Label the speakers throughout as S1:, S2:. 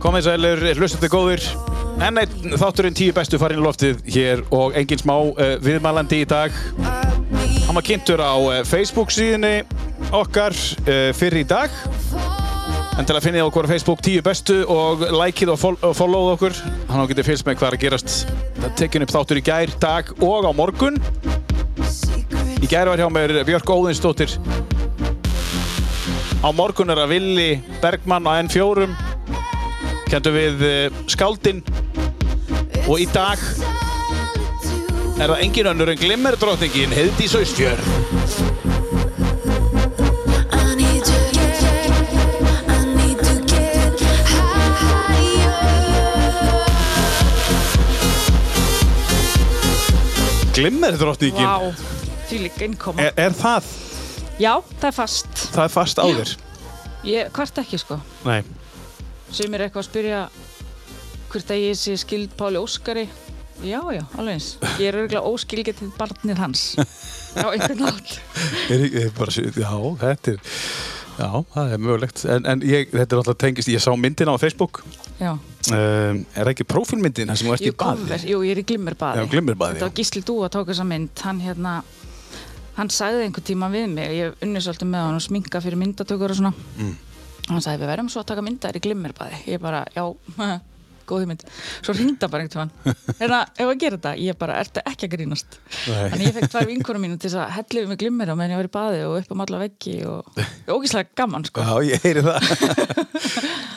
S1: komið sælur, hlustandi góðir enn einn þátturinn tíu bestu farin í loftið hér og engin smá uh, viðmælandi í dag hann var kynntur á uh, Facebook síðunni okkar uh, fyrir í dag en til að finna okkur á Facebook tíu bestu og likeið og, fol og followð okkur hann á getið fylgst með hvað er að gerast það tekjun upp þáttur í gær, dag og á morgun í gær var hjá mér Björk Óðinsdóttir á morgun er að Willi Bergmann á N4 kendum við uh, skáldinn og í dag er það engin önnur en glimmerdróttingin Heiðdís Austjörn
S2: I need to get, I need to get higher.
S1: Glimmerdróttingin?
S3: Vá, því líka innkoma.
S1: Er, er það?
S3: Já, það er fast.
S1: Það er fast áður?
S3: Ég kvart ekki, sko.
S1: Nei.
S3: Sumir er eitthvað að spyrja hvert að ég sé skild Páli Óskari. Já, já, alveg eins. Ég er örgulega óskilgetið barnið hans. Já, einhvern nátt.
S1: Er, er bara, já, þetta er, já, það er mögulegt. En, en ég, þetta er alltaf tengist, ég sá myndina á Facebook.
S3: Já,
S1: Um, er það ekki prófílmyndin þar sem þú ert
S3: ég
S1: í baði?
S3: jú, ég er í glimmerbaði.
S1: Já, glimmerbaði,
S3: Þetta
S1: já.
S3: var Gísli Dú að tóka þessa mynd. Hann hérna, hann sagði einhvern tíma við mig, ég unni svolítið með hann og sminka fyrir myndatökur og svona.
S1: Mm.
S3: Og hann sagði, við verðum svo að taka myndar í glimmerbaði. Ég bara, já, góði mynd. Svo ringda bara einhvern tímann. Hérna, ef að gera þetta, ég bara, ertu ekki að grínast?
S1: Nei.
S3: Þannig ég fekk tvær vinkunum mínu til þess að hellu mig glimmer á meðan ég var í baði og upp á alla veggi og ógíslega gaman, sko.
S1: Já, ég heyri það.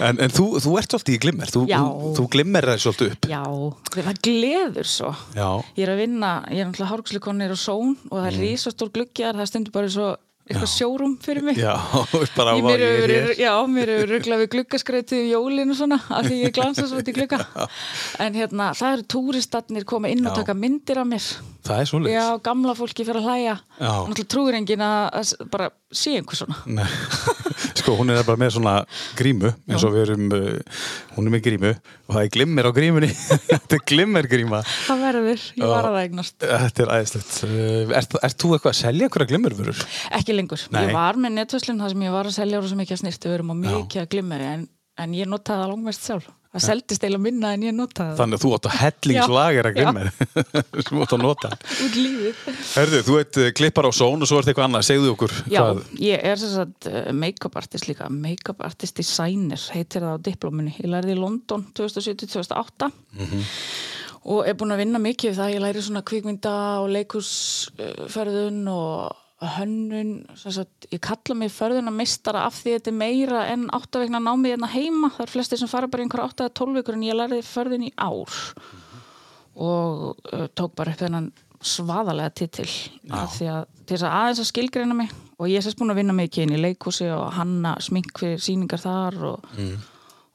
S1: en en þú, þú ert svolítið í glimmer, þú,
S3: Já.
S1: þú- þú glimmer það svolítið upp.
S3: Já, það gleður svo.
S1: Já.
S3: Ég er að vinna, ég er náttúrulega hárgslukonnir og són og
S1: Mhm.
S3: það er risastór gluggiðar, það stundur bara svo eitthvað sjórum fyrir mig.
S1: Já, bara á
S3: Ég mér hefur verið- já, mér hefur ruglað við gluggaskreitið í jólinu og svona, af því ég glansa svo í glugga. En hérna, það eru túristatnir koma inn og
S1: Já.
S3: taka myndir af mér.
S1: Það er svolítið.
S3: Já, gamla fólki fyrir að hlæja.
S1: Já.
S3: Náttúrulega trúir enginn að, að s- bara sé einhver svona.
S1: Nei. sko hún er bara með svona grímu eins og við erum uh, hún er með grímu og það er glimmer á grímunni þetta er glimmer gríma
S3: Það verður, ég var að það eignast.
S1: þetta er æðislegt uh, ert, ert þú eitthvað að selja einhverja glimmervörur?
S3: Ekki lengur.
S1: Nei.
S3: Ég var með netverslun þar sem ég var að selja rosa mikið að snirtu verum og mikið að glimmeri en, en ég notaði það langmest sjálf. Það seldist eiginlega minna en ég notaði það
S1: þannig að þú átt að hellingslager að
S3: Já.
S1: glimmer sem þú átt að nota
S3: út lífið.
S1: Herðu, þú ert uh, klippar á són og svo ert eitthvað annað segðu okkur
S3: Já, ég er sem sagt eh, make-up artist líka, make-up artist designer heitir það á diplóminu. Ég lærði í London 2007-2008 og er búin að vinna mikið við það. Ég læri svona kvikmynda og leikusferðun og hönnun. sem Sagt, ég kalla mig förðunarmistara af því þetta er meira en áttavegna námið hérna heima. Það er flestir sem fara bara í einhverja 8 eða 12 vikur en ég lærði förðun í ár og uh, tók bara upp þennan svaðalega titil af því að til þess að aðeins að skilgreina mig og ég er sérst búin að vinna mikið inn í leikhúsi og hanna smink fyrir síningar þar og,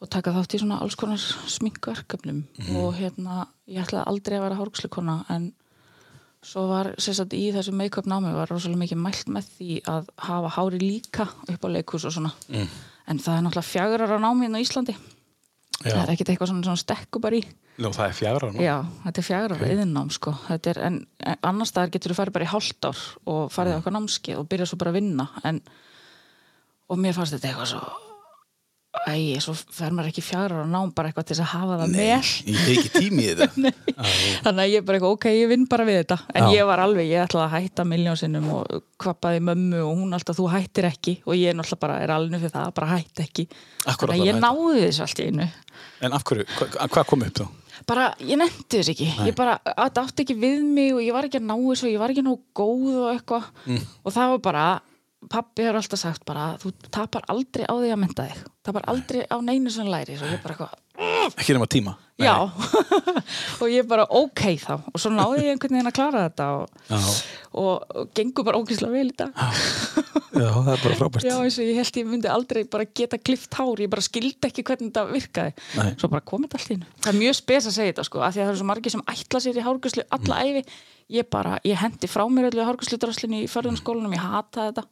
S3: og taka þátt í svona alls konar sminkverkefnum og hérna, ég ætlaði aldrei að vera hárgslukona en svo var sérst í þessu make-up námi var rosalega mikið mælt með því að hafa hári líka upp á leikhús og svona en það er náttúrulega fjagrar á námi inn hérna á Íslandi það er ekkert eitthvað svona, svona stekku bara í
S1: Nú, það er fjara nú
S3: Já, þetta er fjagra okay. iðinnám sko Þetta er, en, en annars staðar getur þú farið bara í hálft ár og farið á eitthvað námskið og byrjað svo bara að vinna en, og mér fannst þetta eitthvað svo Æ, svo fer maður ekki fjagra og nám bara eitthvað til þess að hafa það með
S1: ég hef ekki tími í þetta
S3: Þannig að ég bara eitthvað, ok, ég vinn bara við þetta En
S1: Já.
S3: ég var alveg, ég ætlaði að hætta miljónsinnum og kvappaði mömmu og hún alltaf, þú hættir ekki og ég náttúrulega bara er alveg fyrir það, bara hætt ekki
S1: Akkur
S3: Þannig að ég
S1: allar
S3: náði þessu allt í einu
S1: en af hverju, hva, hvað kom upp þá?
S3: bara, ég nefndi þess ekki ég bara, þetta átti ekki við mig og ég var ekki að ná þessu og ég var ekki nóg góð og eitthvað og það var bara, pappi hefur alltaf sagt bara, þú tapar aldrei á því að mynda þig tapar aldrei á neinu sem þú lærir og ég bara eitthvað,
S1: ekki nema tíma Nei.
S3: já og ég bara, ok þá og svo náði ég einhvern veginn að klara þetta og,
S1: Já.
S3: og, og gengur bara ókýrslega vel í dag
S1: já, það er bara frábært
S3: Já, eins og ég held ég myndi aldrei bara geta klift hár, ég bara skildi ekki hvernig þetta virkaði.
S1: Nei.
S3: Svo bara komið þetta allt í hennu. Það er mjög spes að segja þetta sko, af því að það eru svo margir sem ætla sér í hárgjörslu
S1: Mm.
S3: alla æfi. Ég bara, ég hendi frá mér öllu hárgjörsludraslinu í förðunarskólanum, ég hata þetta.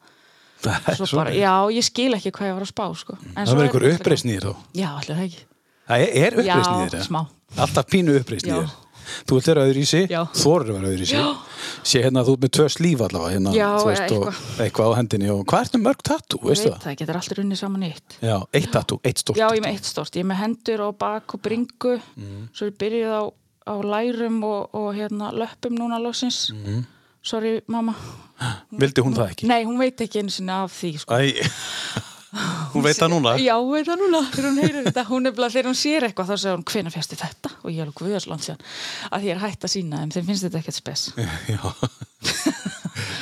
S1: það er
S3: Svo
S1: svo
S3: bara, já, ég skil ekki hvað ég var að spá sko. En
S1: það verður
S3: svo er-
S1: einhver uppreisn í þér þá
S3: Já, allir það ekki.
S1: Það er- er uppreisn í
S3: Já,
S1: þér? eða?
S3: smá.
S1: Alltaf pínu uppreisn í
S3: Já.
S1: þér. Þú ert vera öðru í sig,
S3: Já.
S1: þorir vera öðru í sig. Sé hérna að þú ert með tvö slíf allavega, hérna,
S3: Já,
S1: þú
S3: eða
S1: og, eitthvað á hendinni. Og hvað ertu mörg tattú, veistu
S3: veit
S1: það?
S3: það, getur alltaf runnið saman í eitt
S1: Já, eitt tattú, eitt stórt.
S3: Já, ég er með eitt stort, ég er með hendur og bak og bringu
S1: Mm.
S3: svo ég byrjuð á, á lærum og, og hérna löppum núna lóksins
S1: Mm.
S3: Sorry, mamma
S1: Vildi hún það ekki?
S3: Nei, hún veit ekki einu sinni af því sko.
S1: Æ, hún veit það núna.
S3: Já, veit það núna, þegar hún heyrir þetta hún er bara, þegar hún sér eitthvað, þá segir hún hvenær fjasti þetta og ég er alveg guðarsland síðan að því ég er hætt að sína þeim, þeim finnst þetta ekkert spes
S1: Já.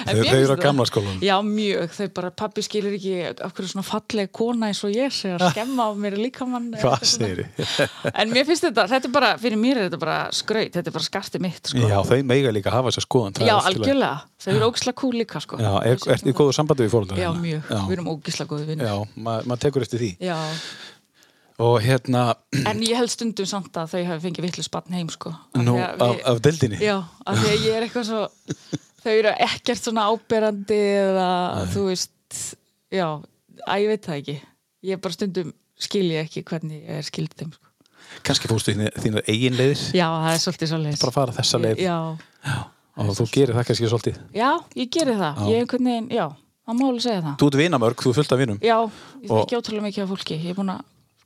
S3: En
S1: Þau-
S3: mér
S1: þau eru
S3: finnst
S1: á
S3: það-
S1: gamla skólanum.
S3: Já, mjög, þau bara, pappi skilur ekki af hverju svona falleg kona eins og ég sé að skemma á mér líkamann eða
S1: Hvað
S3: eitthvað svona.
S1: segir
S3: En mér finnst þetta, þetta er bara, fyrir mér er þetta bara skraut, þetta er bara skartið mitt, sko.
S1: Já, þau meiga líka hafa þess að skoðan. það er
S3: Já,
S1: allt í lagi.
S3: algjörlega. Þau eru ógisla kúl líka, sko.
S1: Já, er, er, er góðu sambandi við fóröldar
S3: Já, mjög. Við erum ógisla góði vinn.
S1: Já, maður mað tekur eftir því.
S3: Já.
S1: Og hérna,
S3: En ég held stundum samt að þau hafi fengið vitlu spann heim, sko. Af
S1: nú,
S3: því að
S1: af,
S3: við-
S1: af deildinni.
S3: Já, af því að ég er eitthvað svo, þau eru ekkert svona áberandi eða, þú veist, já, að ég veit það ekki. Ég bara stundum skilji ekki hvernig ég er skildið þeim, sko.
S1: Kanski fórstu þínu- þínar eigin leiðis,
S3: Já, það er svolítið svolítið.
S1: bara fara þessa leið.
S3: Já,
S1: og þú gerir það kannski svolítið.
S3: Já, ég geri það. Ég einhvern veginn, já, það má alveg segja það.
S1: Þú ert vinamörg, þú er fullt af vinum
S3: Já, ég
S1: Og-
S3: þekki ótrúlega mikið af fólki. Ég er búin að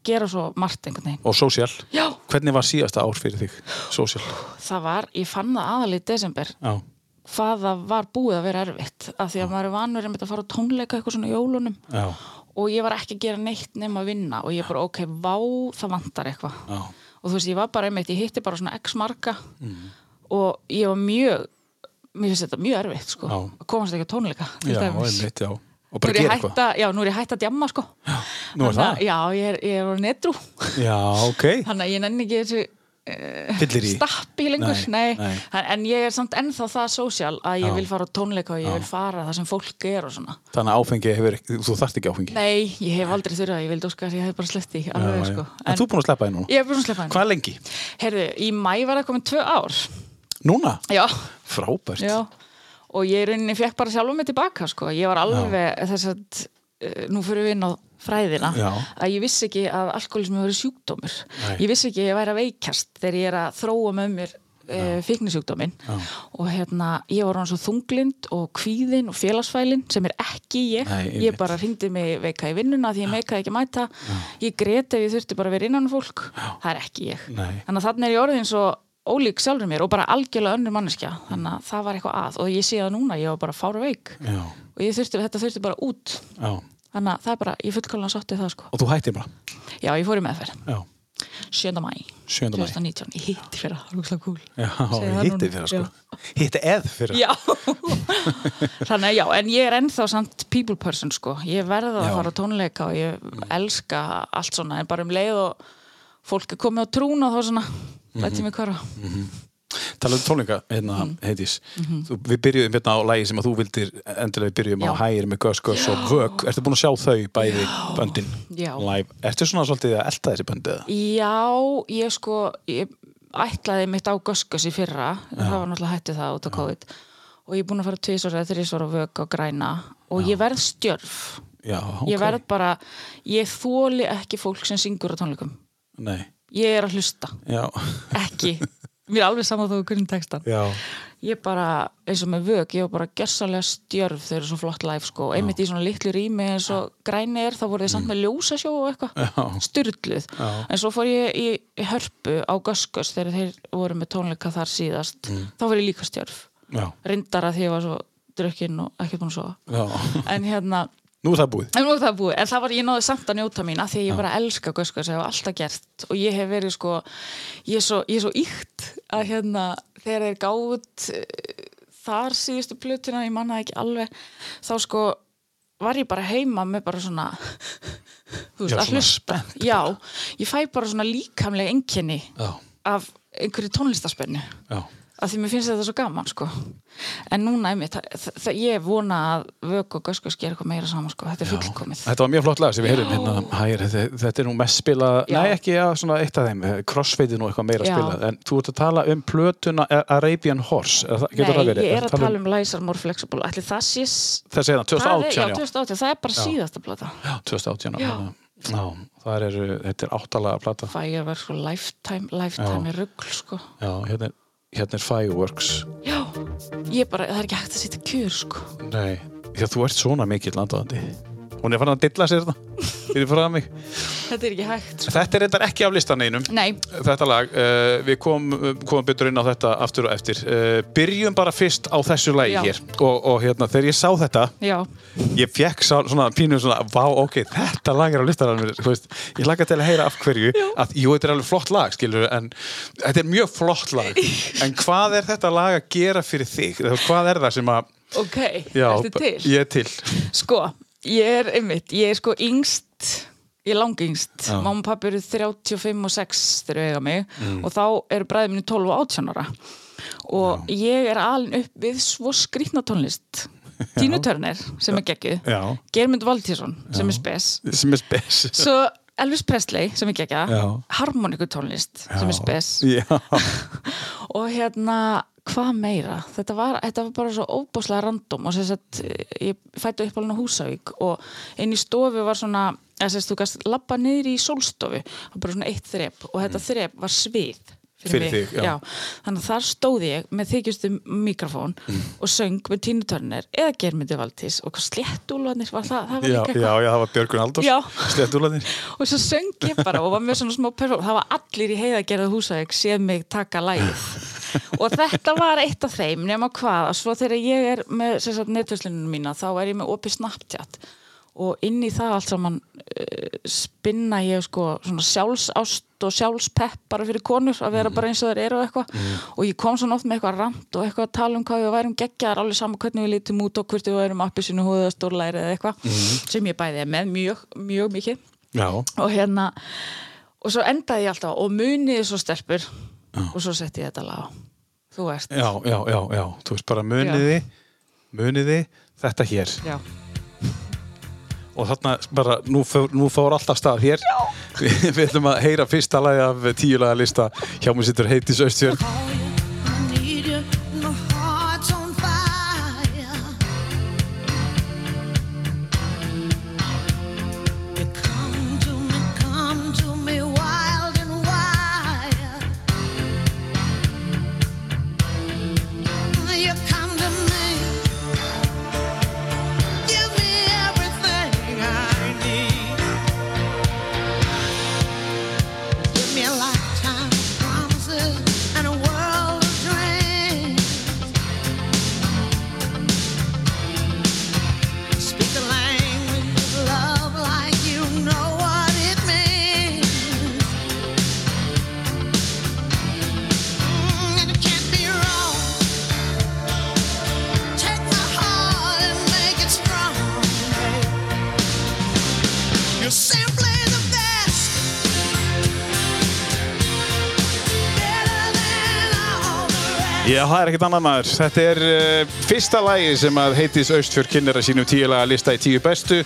S3: gera svo margt einhvern veginn.
S1: og sósíal.
S3: Já,
S1: Hvernig var síðasta ár fyrir þig, sósíal?
S3: það var, ég fann það aðalið í desember
S1: Já,
S3: hvað það var búið að vera erfitt af því að maður er vanur einmitt að fara á tónleika eitthvað svona í jólunum
S1: já,
S3: og ég var ekki að gera neitt nema að vinna og ég bara ok, vá, það vantar eitthvað
S1: já,
S3: og þú veist, ég var bara einmitt, ég hitti bara svona x marga
S1: Mhm.
S3: og ég var mjög mér finnst þetta mjög erfitt sko,
S1: Já.
S3: að komast ekki á tónleika til
S1: já,
S3: dæmis.
S1: einmitt, já. Og
S3: Nú
S1: bara
S3: er ég
S1: gera
S3: hætt
S1: eitthvað.
S3: að, já, nú er ég hætt að djamma, sko.
S1: Nú er
S3: Þannig
S1: það?
S3: að- Já, ég er, ég er orðin edru.
S1: Já, ok,
S3: Þannig að ég nenni ekki þessu
S1: fyllir í.
S3: stappi lengur.
S1: Nei,
S3: Nei,
S1: nei.
S3: En, en ég er samt ennþá það sósjál að ég
S1: Já.
S3: vil fara á tónleika og ég vil fara það sem fólk er og svona.
S1: Þannig að áfengi hefur, ekki- þú þarft ekki áfengi.
S3: Nei, ég hef aldrei þurrað, ég vildi óska að ég hef bara slett í alveg,
S1: já, já.
S3: sko.
S1: En, þú er búin að sleppa þér núna?
S3: Ég hef búin að sleppa henni.
S1: Hvað lengi?
S3: Herðu, í mæ var það komin tvö ár.
S1: Núna?
S3: Já,
S1: Frábært.
S3: já. Og ég í rauninni fekk bara sjálfum mig tilbaka, sko. Ég var alveg, þess að, eh, nú fyrir við inn á fræðina,
S1: Já.
S3: að ég vissi ekki að alkoholismi verið sjúkdómur.
S1: Nei.
S3: Ég vissi ekki að ég væri að veikjast þegar ég er að þróa með mér e, fíknisjúkdómin. Og hérna, ég var hann svo þunglind og kvíðin og félagsfælin sem er ekki ég.
S1: Nei, einmitt.
S3: ég bara hringdi mig veika í vinnuna því ég meikaði ekki að mæta. Ég grét ef ég þurfti bara að vera innan um fólk. Það er ekki ég.
S1: Nei.
S3: Þannig að þannig er ég orðin svo ólík sjálfur mér og bara algjörlega önnur manneskja. Þannig að það var eitthvað að og ég sé það núna, ég var bara fára veik.
S1: Já,
S3: Og ég þurfti, þetta þurfti bara út.
S1: já.
S3: Þannig að það er bara, ég fullkólan sátti það sko.
S1: Og þú hættir bara?
S3: Já, ég fór í meðferð.
S1: Já.
S3: 7. mæ
S1: 7. maí.
S3: 2019, ég hitti fyrir að rúkslega kúl
S1: Já,
S3: Segðu það
S1: hitti
S3: núna.
S1: fyrir sko. Hitti eð fyrir.
S3: Já, þannig að já, en ég er ennþá samt people person sko, ég verða
S1: Já.
S3: að fara á tónleika og ég elska allt svona, en bara um leið og fólk er komið á trúna þá svona,
S1: Mhm.
S3: lætti mig hverfa
S1: Talaðu um tónleika, hérna,
S3: Mhm.
S1: heitís. Þú, við byrjuðum hérna á lægi sem að þú vildir endilega við byrjuðum á
S3: Já.
S1: hægir með gös, gös og vök. Ertu búin að sjá þau bæði böndin
S3: Já.
S1: live? Ertu svona svolítið að elta þessi böndi eða?
S3: Já, ég sko ég ætlaði mitt á göskus í fyrra en það var náttúrulega hættu það út á COVID og ég er búin að fara tvisvar eða þrísvar á vök og græna og ég verð stjörf
S1: Já, ok.
S3: ég verð bara, ég þóli ekki fólk sem syngur á tónleikum
S1: Nei,
S3: ég er að hlusta,
S1: já,
S3: ekki mér er alveg saman þú hvernig textan
S1: já,
S3: ég bara, eins og með vök, ég var bara gersanlega stjörf þau eru svo flott live sko og einmitt í svona litlu rými eins og græni er þá voru þið samt með ljósasjó og
S1: Mm. Já.
S3: eitthvað styrluð,
S1: Já.
S3: en svo fór ég í, í hörpu á Göskus þegar þeir voru með tónleika þar síðast
S1: Mm.
S3: þá var ég líka stjörf,
S1: já,
S3: rindara því ég var svo drukkin og ekki búin að sofa
S1: já.
S3: en hérna,
S1: Nú er það búið.
S3: en nú er það búið en það var, ég náði samt að njóta mín að því að ég bara elska Göskus, ég hef alltaf gert og ég hef verið sko, ég er svo, ég er svo íkt að hérna, þegar þeir gáðut þar síðustu plötuna, ég manna það ekki alveg þá sko var ég bara heima með bara svona þú veist,
S1: Já,
S3: að
S1: svona
S3: hlusta
S1: spennt
S3: Já, ég fæ bara svona líkamlega enginni
S1: Já,
S3: af einhverju tónlistaspennu
S1: já,
S3: af því mér finnst þetta svo gaman sko en núna einmitt, það, það, ég vona að vök og göskus gera eitthvað meira saman sko, þetta er
S1: já.
S3: fullkomið
S1: Þetta var mjög flott lag sem við heyrðum hérna. Hægir, þetta, þetta er nú mest spilað,
S3: Já.
S1: nei ekki já, svona eitt af þeim, crossfade er nú eitthvað meira
S3: Já.
S1: spilað. En þú ert að tala um plötuna Arabian Horse, er það- getur það
S3: Nei,
S1: verið?
S3: ég er
S1: Ertu
S3: að tala um Læsar More Flexible ætli það sé s-
S1: Þessi hérna,
S3: það er-
S1: 2018,
S3: já,
S1: já.
S3: 2018, það er bara síðasta plata
S1: 2018, já.
S3: Já.
S1: hérna. Já, það eru, þetta er áttalega plata.
S3: Fireworks og sko Lifetime, Lifetime er rugl sko.
S1: Já, hérna, er- hérna er Fireworks.
S3: Já, ég bara, það er ekki hægt að setja kjör sko.
S1: Nei, já, þú ert svona mikill landaðandi. Hún er farin að dilla sér þetta. Þið er frá mig.
S3: Þetta er ekki hægt sko.
S1: Þetta er reyndar ekki af listan einum.
S3: Nei,
S1: Þetta lag, uh, við komum kom betur inn á þetta aftur og eftir. Uh, byrjum bara fyrst á þessu lagi
S3: Já.
S1: hér. Og, og hérna, þegar ég sá þetta,
S3: já,
S1: ég fekk sá, svona pínum svona, vá, ok, þetta lag er á listanum minn, þú veist, ég laka til að heyra af hverju, að jú, þetta er alveg flott lag, skilur, en þetta er mjög flott lag, en hvað er þetta lag að gera fyrir þig, Þú veist, hvað er það sem að,
S3: ok,
S1: já,
S3: ertu til?
S1: ég er til,
S3: Sko, ég er einmitt, ég er sko yngst, ég er langingst.
S1: Já.
S3: Mamma og pappi eru 35 og 6 þegar þau eiga mig
S1: Mm.
S3: og þá eru bræði minni 12 og 18 ára. Og ég er alin upp við svo skrýtna tónlist. Tínu Törner, sem er geggjuð.
S1: Já.
S3: Germund Valtísson, sem er spes.
S1: sem er spes,
S3: Svo Elvis Presley, sem er geggjað.
S1: Já.
S3: Harmonikutónlist, sem er spes.
S1: já,
S3: Og hérna, hvað meira? Þetta var, þetta var bara svo óbúslega random og sem sagt, ég fættu upp alveg á Húsavík og inn í stofu var svona, eða sem sagt, þú gast labba niður í sólstofu, það var bara svona eitt þrep og þetta þrep var svið
S1: Mm. Fyrir
S3: mig.
S1: þig, já.
S3: Þannig að þar stóð ég með þykjustu mikrofón
S1: Mm.
S3: og söng með tínutörnir eða germyndi valdís og hvað sléttúlanir var það, það var
S1: já,
S3: líka
S1: já,
S3: eitthvað.
S1: já, það var Björgun Aldós,
S3: Já.
S1: slettúlanir,
S3: Og svo söng ég bara og var með svona smá perform Það var allir í heiðagerða húsæk séð mig taka lægið Og þetta var eitt af þeim nema hvað að Svo þegar ég er með sem sagt, netverslunum mína þá er ég með opið snapptjátt Og inn í það allt saman uh, spinna ég sko svona sjálfsást og sjálfspepp bara fyrir konur að vera bara eins og þær eru og eitthvað og ég kom svona oft með eitthvað rand og eitthvað að tala um hvað við værum geggjaðar alveg sama hvernig við lítum út og hvort við værum appi sinu hóða stórlæri eða eitthvað sem ég bæði er með mjög, mjög mikið
S1: já,
S3: og hérna og svo endaði ég alltaf á, og muniði svo stelpur og svo setti ég þetta lag á þú ert
S1: já, já, já, já, þú veist bara muniði, muniði, þetta hér,
S3: Já.
S1: og þarna bara, nú fór, nú fór alltaf stað hér við, við ætlum að heyra fyrsta lagi af tíulaga lista hjá mér sittur heitis Östjörn
S4: me a lifetime of promises and a world of dreams. Speak the language of love like you know what it means. Mm, and it can't be wrong. Take my heart and make it strong. babe. You're simply the best.
S1: Já, það er ekkert annað maður. Þetta er uh, fyrsta lagi sem að heitis Östfjörn kynner að sínum tíulaga lista í tíu bestu.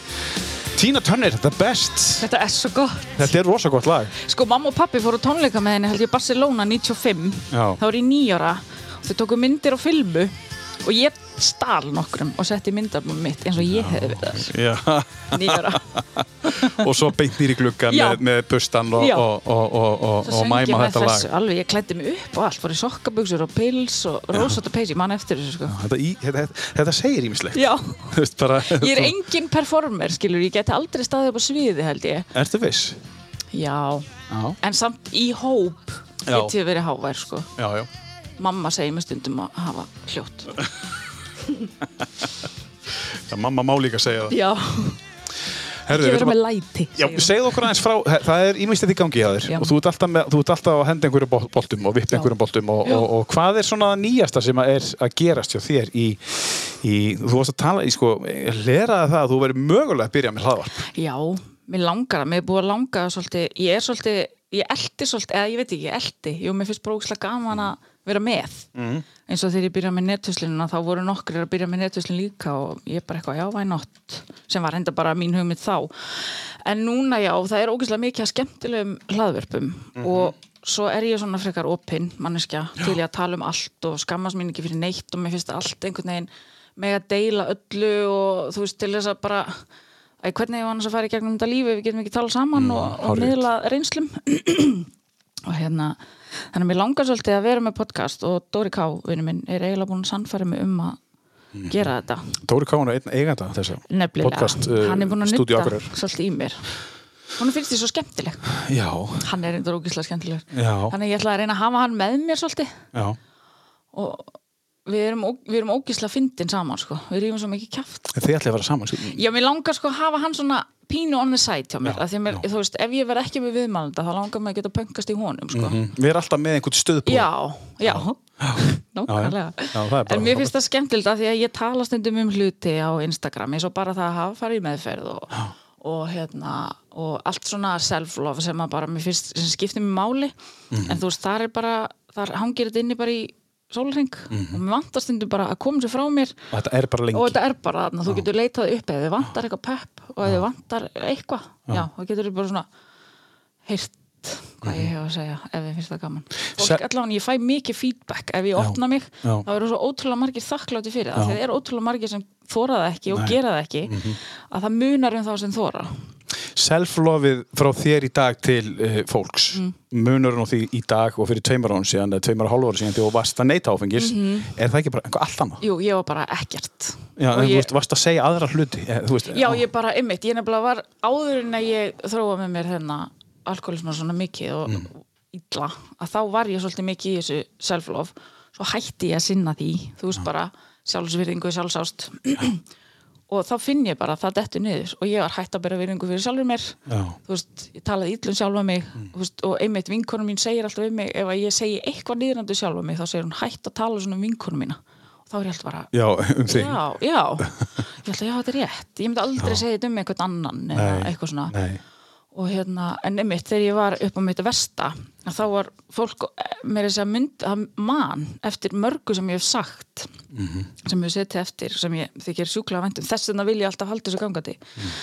S1: Tina Turner, The Best.
S3: þetta er svo gott
S1: Þetta er rosa gott lag.
S3: sko mamma og pappi fóru á tónleika með henni held ég í Barcelona 95
S1: Já.
S3: þá er ég nýjara og þau tóku myndir og filmu og ég stal nokkrum og setti myndarbúm mitt eins og ég hefði verið þar
S1: Já.
S3: nýjara
S1: og svo beint nýri glugga
S3: Já.
S1: með, með bustan og,
S3: Já.
S1: og, og, og, og, og
S3: Svo söng ég
S1: mæma
S3: með
S1: þetta lag.
S3: þessu alveg, ég klæddi mig upp og allt, fór í sokkabugsur og pils og rósat og peys, ég man eftir þessu sko.
S1: Þetta, í, þetta, þetta segir ímislegt.
S3: Já,
S1: Þú veist bara...
S3: ég er engin performer, skilur, ég geti aldrei staðið upp á sviði held ég.
S1: Ertu viss?
S3: Já,
S1: Já.
S3: en samt í hóp
S1: Já.
S3: get ég verið hávær sko.
S1: Já, já.
S3: Mamma segir mér stundum að hafa hljótt.
S1: Það, mamma má líka segja það.
S3: Já,
S1: Herðu, við
S3: ég
S1: ætlum
S3: verið
S1: að-
S3: með læti.
S1: Já,
S3: segir hún.
S1: segð okkur aðeins frá, það er ímyndstætt í gangi hjá þér
S3: Já.
S1: og þú ert alltaf, með, þú ert alltaf að henda einhverjum bol- boltum og vippa einhverjum boltum og, og, og hvað er svona það nýjasta sem að er að gerast hjá þér í, í þú varst að tala í sko, leraði það að þú verið mögulega að byrja með hlaðvarp.
S3: Já, mér langar það, mér er búið að langa það svolítið, ég er svolítið, ég eldi svolítið, eða ég veit ekki, ég eldi, jú, mér finnst brókslega gaman að vera með. Mm. Eins og þegar ég byrjaði með netvíslinuna, þá voru nokkrir að byrja með netvíslin líka og ég bara eitthvað, já, væði nott, sem var enda bara mín hugmynd þá. En núna, já, það er ógeðslega mikið að skemmtilegum hlaðvörpum og svo er ég svona frekar opinn manneskja til ég að tala um allt og skammast mín ekki fyrir neitt og mér finnst allt einhvern veginn með að deila öllu og þú veist til þess að bara Æ, hvernig hefur annars að fara í gegnum þetta lífi ef við getum ekki tala saman og, og
S1: hárrétt.
S3: miðla reynslum og hérna þannig að mér langar svolítið að vera með podcast og Dóri K, vinnu minn, er eiginlega búin að sannfæra mig um að gera þetta
S1: Dóri Káin er einn eiganda þessa
S3: nefnilega,
S1: podcast eh, uh,
S3: hann er búin að
S1: stúdíu
S3: nutta
S1: Akureyrar.
S3: svolítið í mér hún finnst því svo skemmtileg
S1: Já,
S3: hann er eitthvað ógislega skemmtilegur
S1: Já.
S3: þannig að ég ætla að reyna að hafa hann með mér svolítið
S1: já,
S3: og við erum, ó- við erum ógislega fyndin saman sko. við erum svo mikið kjaft
S1: En þið ætlaði að vera saman sko.
S3: Já, mér langar sko að hafa hann svona pínu on the side hjá mér,
S1: Já,
S3: af því að mér,
S1: já.
S3: þú veist, ef ég verð ekki með viðmælanda þá langar mér að geta pöngast í honum, sko
S1: Mm, Við erum alltaf með einhvern stöðbúr
S3: Já, já, nákvæmlega
S1: Já, já, það er bara
S3: En mér finnst það skemmtilegt að því að ég tala stundum um hluti á Instagram eins og bara það að hafa farið í meðferð og, og hérna og allt svona self-love sem að bara mér finnst sem skiptir mér máli
S1: Mhm.
S3: en þú veist, þar er bara, þar hangir þetta inni bara í sólring
S1: Mhm.
S3: og mér vantar stundum bara að koma sér frá mér
S1: Og þetta er bara lengi
S3: og þetta er bara þarna, þú getur leitað upp ef þið vantar eitthvað pepp og ef þið vantar eitthvað, já, þá getur þið bara svona heyrt hvað ég hef að segja ef þið finnst það gaman og
S1: Mhm. Se-
S3: allan ég fæ mikið feedback ef ég opna mig,
S1: já.
S3: þá eru svo ótrúlega margir þakkláti fyrir það,
S1: Já. Mhm.
S3: það eru ótrúlega margir sem þóra það ekki og gera það ekki að það munar um þá sem þóra
S1: Self-lofið frá þér í dag til uh, fólks
S3: Mm.
S1: munur hún á því í dag og fyrir tveimur án síðan eða tveimur og hálfur síðan því og varst að neita áfengis er það ekki bara einhver allt annað?
S3: Mhm. jú, ég var bara ekkert
S1: Já,
S3: Og
S1: en, þú
S3: ég-
S1: veist, varst að segja aðra hluti eh, þú veist,
S3: Já, ég bara, einmitt, ég nefnilega var áður en að ég þróa með mér þennan alkoholisman svona mikið og illa, að þá var ég svolítið mikið í þessu self-love, svo hætti ég að sinna því, þú veist bara sjálfsvirðingu, sjálfsást og þá finn ég bara að það dettu niður og ég var hætt að bera virðingu fyrir sjálfur mér
S1: Já.
S3: þú veist, ég talaði illa um sjálfa mig þú veist, og einmitt vinkonum mín segir alltaf um mig ef að ég segi eitthvað niðrandu sjálfa mig þá segir hún hætt að tala svona um vinkonum mína og þá er ég alltaf bara,
S1: Já, um því
S3: Já, já, ég ætla, já, þetta er rétt Ég myndi aldrei segja þetta um einhvern annan eða
S1: Nei,
S3: eitthvað svona
S1: Nei,
S3: og hérna, en einmitt þegar ég var upp á mitt versta, að þá var fólk eh, meira þess að mynd, að man eftir mörgu sem ég hef sagt
S1: Mhm.
S3: sem ég hef setið eftir, sem ég þykir sjúklega væntum, þess vegna vil ég alltaf halda þessu gangandi,
S1: Mhm.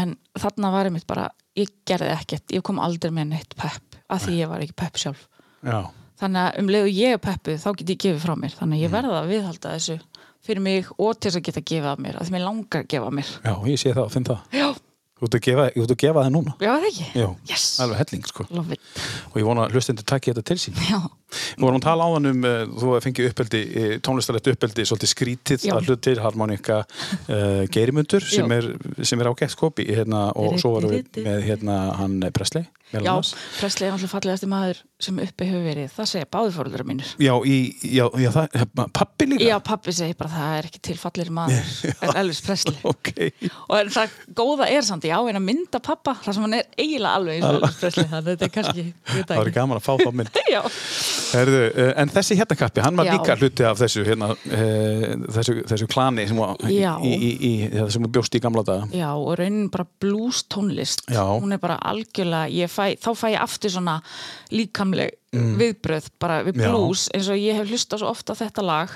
S3: en þarna var einmitt bara, ég gerði ekkert, ég kom aldrei með neitt pepp, að því ég var ekki pepp sjálf
S1: já,
S3: þannig að um leiðu ég er peppuð þá get ég gefið frá mér, þannig að
S1: Mhm.
S3: ég verða að viðhalda þessu fyrir mig og til þess að geta gefið af mér, að því mér langar að gefa af mér
S1: já, ég sé það, finn það
S3: Já,
S1: Þú ert að gefa, þú ert að gefa það núna
S3: já það ekki
S1: Já,
S3: yes,
S1: alveg helling sko
S3: love it
S1: og ég vona að hlustendur takki þetta til sín
S3: Já,
S1: Við vorum að tala áðan um, uh, þú hefði fengið uppeldi, uh, tónlistarlegt uppeldi, svolítið skrítið
S3: Já.
S1: að hlutir, harmonika uh, geirimundur sem
S3: Já.
S1: er, sem er ágætt skopi hérna, og svo varum við með hérna, hann Presley, meðal
S3: já
S1: annars.
S3: Presley er náttúrulega fallegasti maður sem uppi hefur verið það segja báði fóröldra mínir
S1: Já, í, já, já, það, pappi líka?
S3: Já, pappi segir bara það er ekki til fallegri maður en Elvis Presley
S1: Ok,
S3: og en það góða er samt, já, en að mynda pappa það sem hann er eiginlega alveg eins og Elvis Presley þannig að þetta er kannski, ég veit
S1: það
S3: það
S1: var
S3: ekki
S1: gaman að fá það mynd.
S3: Já,
S1: Herðu, uh, en þessi hérna kappi, hann var
S3: Já.
S1: líka hluti af þessu, hérna, uh, þessu, þessu klani sem, var í,
S3: Já.
S1: í, í, í, það sem bjóst í gamla daga.
S3: Já, og raunin bara blues tónlist
S1: Já.
S3: hún er bara algjörlega ég fæ, þá fæ ég aftur svona líkamleg viðbröð bara við
S1: Mm. Já. Mm.
S3: blues eins og ég hef hlustað svo oft á þetta lag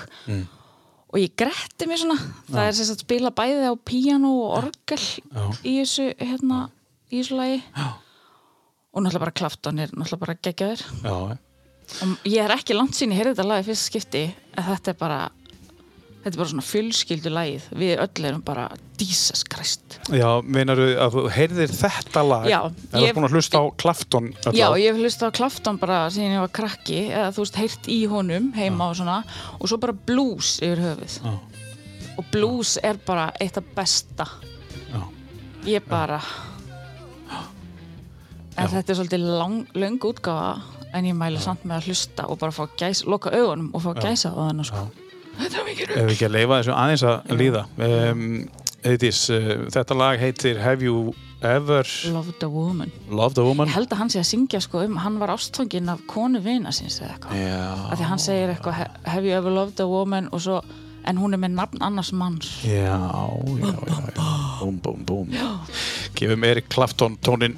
S3: og ég gretti mér svona það er sem sagt spila bæði á píano og orgel í þessu hérna, í þessu lagi Já. og náttúrulega bara klaftan er náttúrulega bara geggjaður
S1: Já,
S3: og ég er ekki langt sín í heyrði þetta lagi fyrst skipti en þetta er bara þetta er bara svona fjölskyldu lagið við öll erum bara Jesus Christ
S1: já meinaru að þú heyrðir þetta lag,
S3: Já,
S1: en þú
S3: ég-
S1: ert búin að hlusta á Klafton. öll
S3: Já,
S1: ár.
S3: ég hef hlustað á Klafton bara síðan ég var krakki eða þú veist, heyrt í honum heima og svona og svo bara blues yfir höfuð og blues er bara eitt af besta
S1: Já.
S3: ég bara en þetta er svolítið lang, löng útgáfa en ég mæli samt með að hlusta og bara fá gæs, loka augunum og fá gæsa á þennan sko Þetta er mikið
S1: Ef við ekki að leifa þessu aðeins að líða um, Heiðdís, uh, þetta lag heitir Have You Ever
S3: Loved a Woman
S1: Loved a Woman
S3: Ég held að hann sé að syngja sko um hann var ástfanginn af konu vina síns eða eitthvað
S1: Já,
S3: að því hann segir eitthvað "Have- have you ever loved a woman og svo en hún er með nafn annars manns
S1: já, já, já, já. Búm, búm, búm Gefum Erik Klafton tónin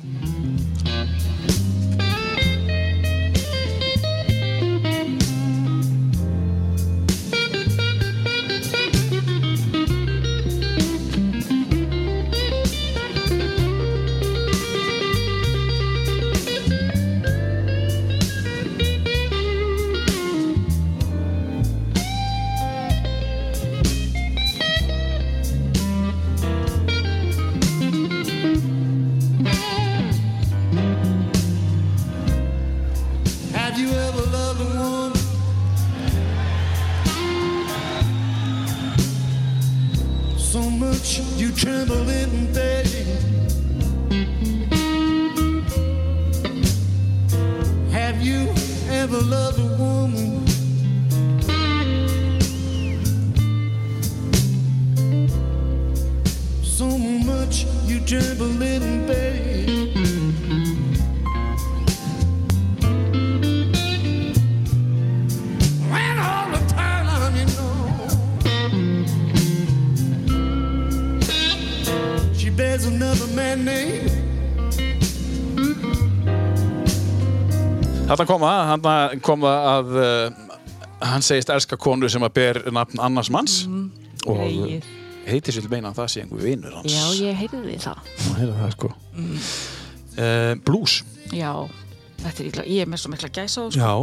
S5: Evelyn, babe. Ran all the time, you know. She bears another man's name.
S1: Þarna kom það, þarna kom það að uh, hann segist elska konu sem að ber nafn annars manns
S3: Mhm.
S1: og
S3: greyið.
S1: heitir sér til meina að það sé einhver vinur hans.
S3: Já, ég heyrði það.
S1: Nú heyrðu það sko. Mm. Eh, blues.
S3: Já, þetta er ítla, ég er með svo mikla gæsa á, sko.
S1: Já.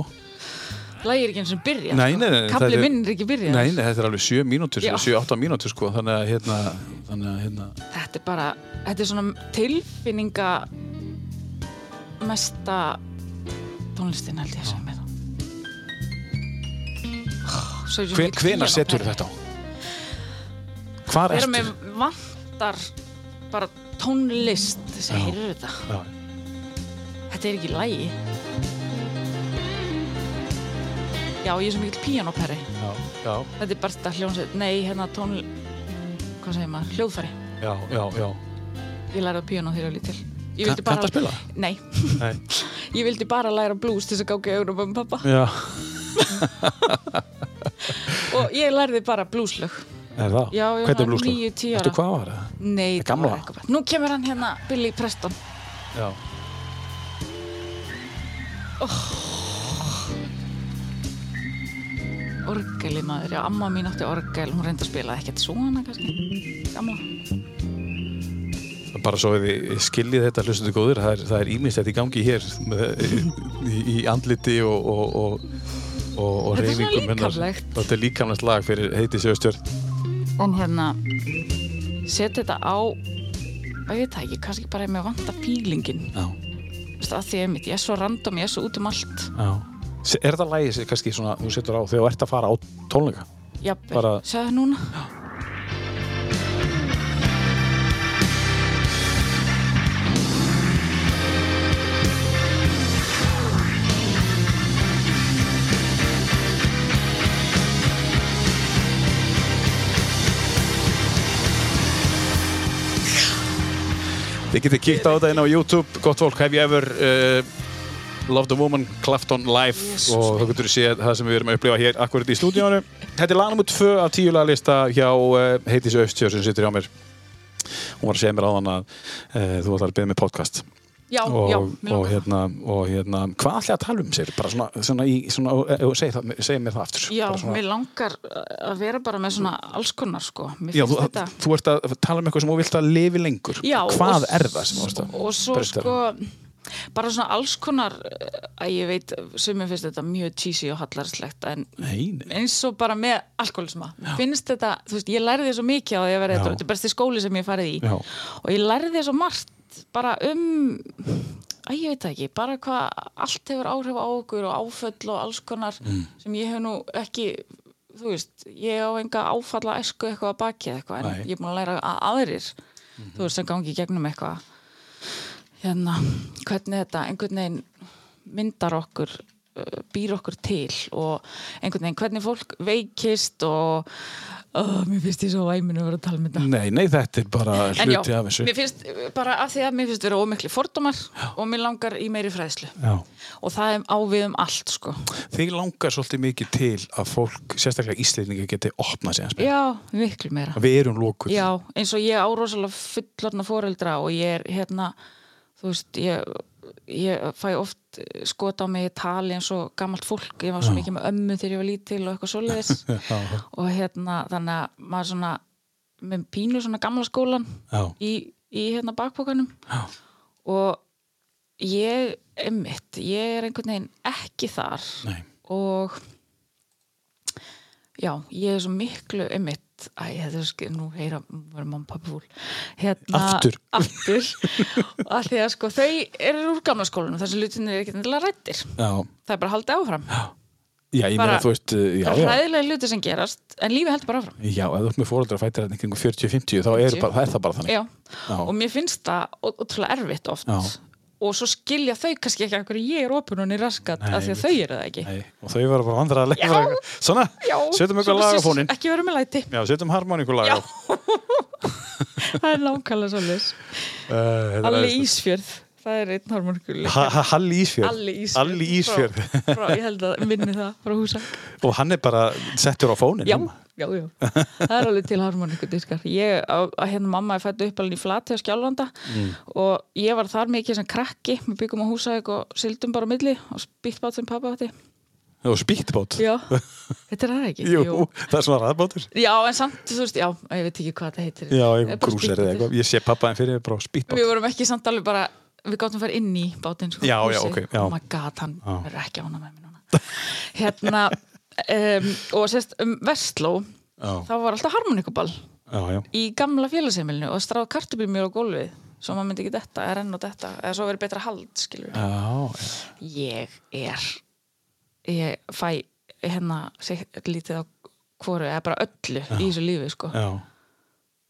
S3: Lægir ekki eins og byrja,
S1: Nei, nei, nei, það
S3: Kabli
S1: er-
S3: sko. minn er ekki byrjað.
S1: Nei, nei, þetta er alveg 7 mínútur,
S3: Já.
S1: 7-8 mínútur sko, þannig að hérna, þannig að hérna,
S3: Þetta er bara, þetta er svona tilfinninga mesta tónlistin held ég að segja með það. Svo er ég svo
S1: Hven,
S3: mikil
S1: hvena
S3: píanó-
S1: setur þetta á? Hvar
S3: Þegar
S1: ertu?
S3: mér vantar bara tónlist þess
S1: Já.
S3: að heyrðu þetta.
S1: Já.
S3: Þetta er ekki lægi. Já, ég er svo mikil píanoperri.
S1: Já, já,
S3: Þetta er bara þetta hljónsveit, nei, hérna tón... Hvað segir maður? Hljóðfæri.
S1: já, já, já.
S3: Ég læraði á píanó þegar ég var lítil. Ég
S1: Kann-
S3: vildi bara-
S1: kanntu að spila?
S3: Nei.
S1: Nei.
S3: Ég vildi bara læra blues til þess að gáka í augunum um pappa
S1: Já,
S3: og ég lærði bara blueslög.
S1: er það?
S3: Já, ég
S1: Hvernig
S3: var
S1: er blueslög?
S3: 9-10 ára.
S1: Veistu hvað var það?
S3: Nei,
S1: Það gamla?
S3: var eitthvað bara- Nú kemur hann hérna, Billy Preston.
S1: Já.
S3: Orgeli maður, já, amma mín átti orgel, hún reyndi að spila ekkert svona kannski. Gamla.
S1: Bara svo að þið skiljið þetta hlustundu góður, það er, það er ímislegt í gangi hér með, í, í andliti og, og, og, og, og
S3: Þetta er svona
S1: reyfingum
S3: líkamlegt.
S1: Þetta er líkamlegt lag fyrir heiti sjöstjörn.
S3: En hérna, setja þetta á, að ég veit það ekki, kannski bara ef mér vantar pílingin.
S1: Já,
S3: Þú veist, að því ég mitt, ég er svo random, ég er svo út um allt.
S1: já. Se- Er þetta lagið sem kannski svona, þú setur á þegar þú ert að fara á tónleika?
S3: Jafnvel,
S1: Bara-
S3: segðu það núna.
S1: Þið getið kíkt á þetta inn á YouTube, gott fólk, have you ever uh, loved a woman, Clapton live og þá getur þið séð það sem við erum að upplifa hér akkurat í stúdíónu. Þetta er lagnum úr tvö af tíu laglista hjá uh, Heitis Östjör sem situr hjá mér. Hún var að segja mér áðan að uh, þú ætlar að byrja með podcast
S3: Já,
S1: og,
S3: já, mér
S1: og,
S3: langar það.
S1: hérna, og hérna, hvað ætlaði að tala um sér? Bara svona, svona, í, svona og, og, segi, það, segi mér það aftur.
S3: Já,
S1: hérna, Bara svona,
S3: mér langar uh, að vera bara með svona alls konar, sko. Mér
S1: já
S3: finnst
S1: þú,
S3: þetta...
S1: þú ert að tala um eitthvað sem þú vilt að lifi lengur.
S3: Já,
S1: hvað
S3: og-
S1: er það sem þú ert að
S3: og svo
S1: breyta? um?
S3: sko bara svona alls konar eh, að ég veit, sumir finnst þetta mjög cheesy og hallarslegt en
S1: Nei, nei.
S3: eins og bara með alkoholisma finnst þetta, þú veist, ég lærði svo mikið á því að vera
S1: Já.
S3: þetta, þetta er besti skóli sem ég hef farið í
S1: Já.
S3: og ég lærði svo margt bara um að ég veit það ekki, bara hvað allt hefur áhrif á okkur og áföll og alls konar
S1: Mm.
S3: sem ég hef nú ekki þú veist, ég á enga áfalla æsku eitthvað að baki eða eitthvað en
S1: Nei. Mhm.
S3: ég er búin að læra að aðrir þú veist, sem gangi í gegnum eitthvað hérna, hvernig þetta einhvern veginn myndar okkur uh, býr okkur til og einhvern veginn hvernig fólk veikist og uh, mér finnst ég svo væminu að vera að tala um þetta
S1: Nei, nei, þetta er bara
S3: En já,
S1: Mm, hluti af þessu.
S3: mér finnst bara af því að mér finnst vera ómikli fordómar og mér langar í meiri fræðslu
S1: Já.
S3: og það er ávið um allt sko.
S1: Þig langar svolítið mikið til að fólk, sérstaklega Íslendingar, geti opnað sig að spila.
S3: Já, miklu meira
S1: Við erum lókuð.
S3: Já, eins og ég á rosalega fullorna foreldra og ég er hérna þú veist, ég, ég fæ oft eh, skot á mig í tali eins og gamalt fólk, ég var svo mikið með ömmu þegar ég var lítil og eitthvað svoleiðis og hérna, þannig að maður svona með pínu svona gamla skólan
S1: Já.
S3: í, í hérna bakpokanum
S1: Já.
S3: og ég, einmitt, ég er einhvern veginn ekki þar
S1: Nei.
S3: og já, ég er svo miklu einmitt, æ, þetta er skil, nú heyra verður mamma og pappi fúl hérna,
S1: Aftur.
S3: aftur að því að sko, þau eru úr gamla skólanum þessi lutinir er ekki endilega rættir
S1: Já.
S3: það er bara að halda áfram
S1: Já, ég meina
S3: Bara-
S1: þú veist, uh, já,
S3: það er
S1: já.
S3: hræðilega luti sem gerast en lífi heldur bara áfram
S1: Já, ef þú ert með fóröldra fættir hérna kringum 40-50, þá er,
S3: 50.
S1: bara, það er það bara þannig.
S3: já.
S1: Já.
S3: og mér finnst það ó- ótrúlega erfitt oft
S1: Já.
S3: og svo skilja þau kannski ekki af hverju ég er opun og niður raskat
S1: Nei,
S3: af því að
S1: einmitt.
S3: þau eru það ekki
S1: Nei, og þau verður bara vandræðilega.
S3: Já.
S1: Bara- Svona,
S3: Já,
S1: setjum eitthvað
S3: svona
S1: lag á fónin.
S3: sést- ekki verið með læti
S1: Já, setjum harmoníkulag á.
S3: það er nákvæmlega svolítið
S1: Eh,
S3: Alli Ísfjörð, það er einn harmorkul
S1: Halli Ísfjörð
S3: Alli Ísfjörð
S1: Alli Ísfjörð.
S3: frá, frá, Ég held að minni það frá húsa
S1: og hann er bara settur á fónin
S3: Já, já, já, það er alveg til harmoniku diskar sko. Ég, á- að hérna mamma er fætt upp alveg í flati á Skjálfanda
S1: Mm.
S3: og ég var þar mikið sem krakki við byggum á húsæk og sildum bara á milli og spýttbátt sem pappa átti
S1: og spýttbót
S3: Já, þetta er það ekki
S1: Jú, það er svona raðbótur
S3: Já, en samt, þú veist, já, ég veit ekki hvað þetta heitir
S1: Já,
S3: Það
S1: einhver
S3: er bara
S1: krúsir eða
S3: spýttbátur.
S1: eitthvað Ég sé pappa en fyrir bara spýttbót
S3: Við vorum ekki samt alveg bara við gáttum að fara inn í bátinn sko,
S1: Já, já,
S3: húsið.
S1: ok, já.
S3: Oh my god, hann verður ekki ána með mér núna Hérna um, og sérst um Vestló
S1: Já.
S3: þá var alltaf harmonikuball
S1: Já, já,
S3: í gamla félagseimilinu og stráð kartubimjöl á gólfið svo maður myndi ekki detta, er enn og detta eða svo verið betra hald, skilur
S1: já, já.
S3: ég er ég fæ hérna sig- lítið á hvoru, eða bara öllu í þessu lífi, sko
S1: já.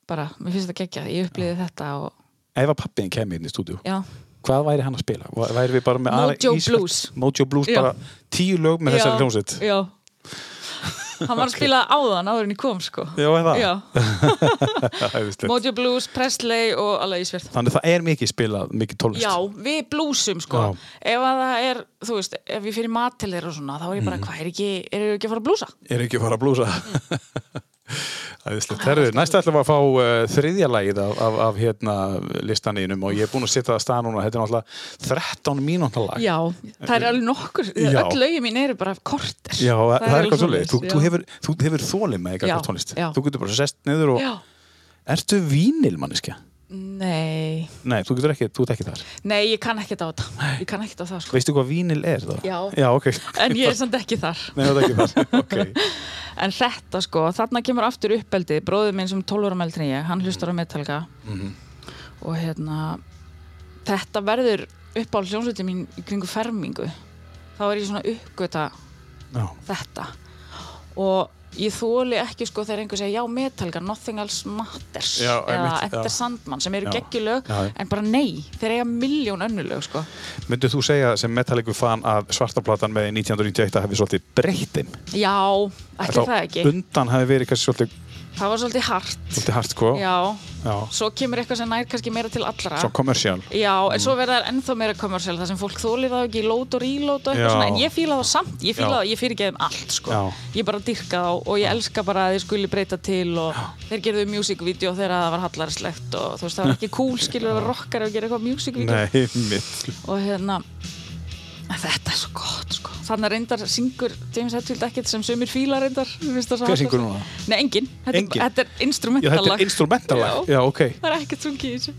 S3: bara, mér finnst þetta gekkja, ég upplýði þetta og,
S1: Ef að pappiðin kemur inn í stúdíu
S3: já,
S1: Hvað væri hann að spila? Væ- Væri við bara með
S3: Mojo
S1: aðra íslensk-
S3: Blues.
S1: Mojo Blues,
S3: Já.
S1: bara tíu lög með
S3: Já,
S1: þessari hljómsveit
S3: já hann var að spila áðan áður en ég kom sko
S1: Já, er það?
S3: já.
S1: Æðislegt.
S3: Mojo Blues, Presley og alveg Ísverð
S1: Þannig það er mikið spilað, mikið tónlist
S3: já, við blúsum sko
S1: Já.
S3: ef að það er, þú veist, ef ég fyrir mat til þeirra og svona, þá er ég
S1: Mm.
S3: bara, hvað, er ekki, er ekki að fara að blúsa?
S1: Er ekki að fara að blúsa
S3: Ah,
S1: Æðislegt, herðu, næst ætlum við að fá uh, þriðja lagið af, af, af hérna listanínum og ég er búin að setja það að stað núna þetta er náttúrulega 13 mínúta lag
S3: já, það er alveg nokkur
S1: Já.
S3: öll lögin mín eru bara korter
S1: Já, það, er
S3: alveg
S1: eitthvað svolítið. Þú,
S3: svoleiðis,
S1: þú
S3: já.
S1: hefur, þú hefur þólið með
S3: Já,
S1: eitthvað tónlist.
S3: já.
S1: Þú getur bara sest niður og...
S3: já,
S1: Ertu vínil, manniska?
S3: nei
S1: Nei, þú getur ekki, þú ert ekki þar.
S3: nei, ég kann ekkert á þetta ég kann ekkert á það sko
S1: Veistu hvað vínil er þá?
S3: Já.
S1: Já, ok.
S3: en ég er samt ekki þar
S1: Nei, það er ekki þar. Ok.
S3: En þetta sko, þarna kemur aftur uppeldið bróðið minn sem 12 ára meldri en ég, hann hlustar á Metallica
S1: Mhm.
S3: og hérna þetta verður upp á hljónsveitin mín í kringu fermingu þá er ég svona uppgöta
S1: Já.
S3: þetta og ég þóli ekki sko þegar einhver segja já Metallica, Nothing Else Matters
S1: Já,
S3: eða
S1: einmitt, já.
S3: Enter Sandman sem eru
S1: Já.
S3: geggjulög
S1: Já, já.
S3: en bara nei, þeir eiga miljón önnulög sko
S1: Myndu þú segja sem metalliku fan að svartaplatan með 1991 hefði svolítið breyttin?
S3: Já, ekki það ekki
S1: Undan hefði verið kannski svolítið,
S3: Það var svolítið hart
S1: svolítið hart, sko.
S3: Já,
S1: Já.
S3: svo kemur eitthvað sem nær kannski meira til allra
S1: Svo kommersjál.
S3: Já, en svo verða það ennþá meira kommersiál þar sem fólk þólir það ekki, lót og rílót
S1: Já.
S3: og eitthvað svona, en ég fíla það samt, ég fíla
S1: Já.
S3: það, ég fyrir þeim allt, sko
S1: Já.
S3: ég bara dyrka þá og ég elska bara að þið skuli breyta til og þeir gerðu music-vídeó þegar það var hallarslegt og þú veist, það var ekki cool, skilur, það var rockar að gera eitthvað music-vídeó
S1: Nei, mitt.
S3: og hérna en þetta er svo gott, sko þannig reyndar syngur James Hetfield ekkert sem sömur fíla reyndar mér finnst það svo
S1: Hver
S3: hart að-
S1: syngur núna?
S3: Nei, engin, þetta,
S1: Engin?
S3: Er, þetta
S1: Já,
S3: er
S1: þetta
S3: instrumentalag
S1: er instrumentalag.
S3: Já.
S1: Já, ok.
S3: Það er ekkert sungið í þessu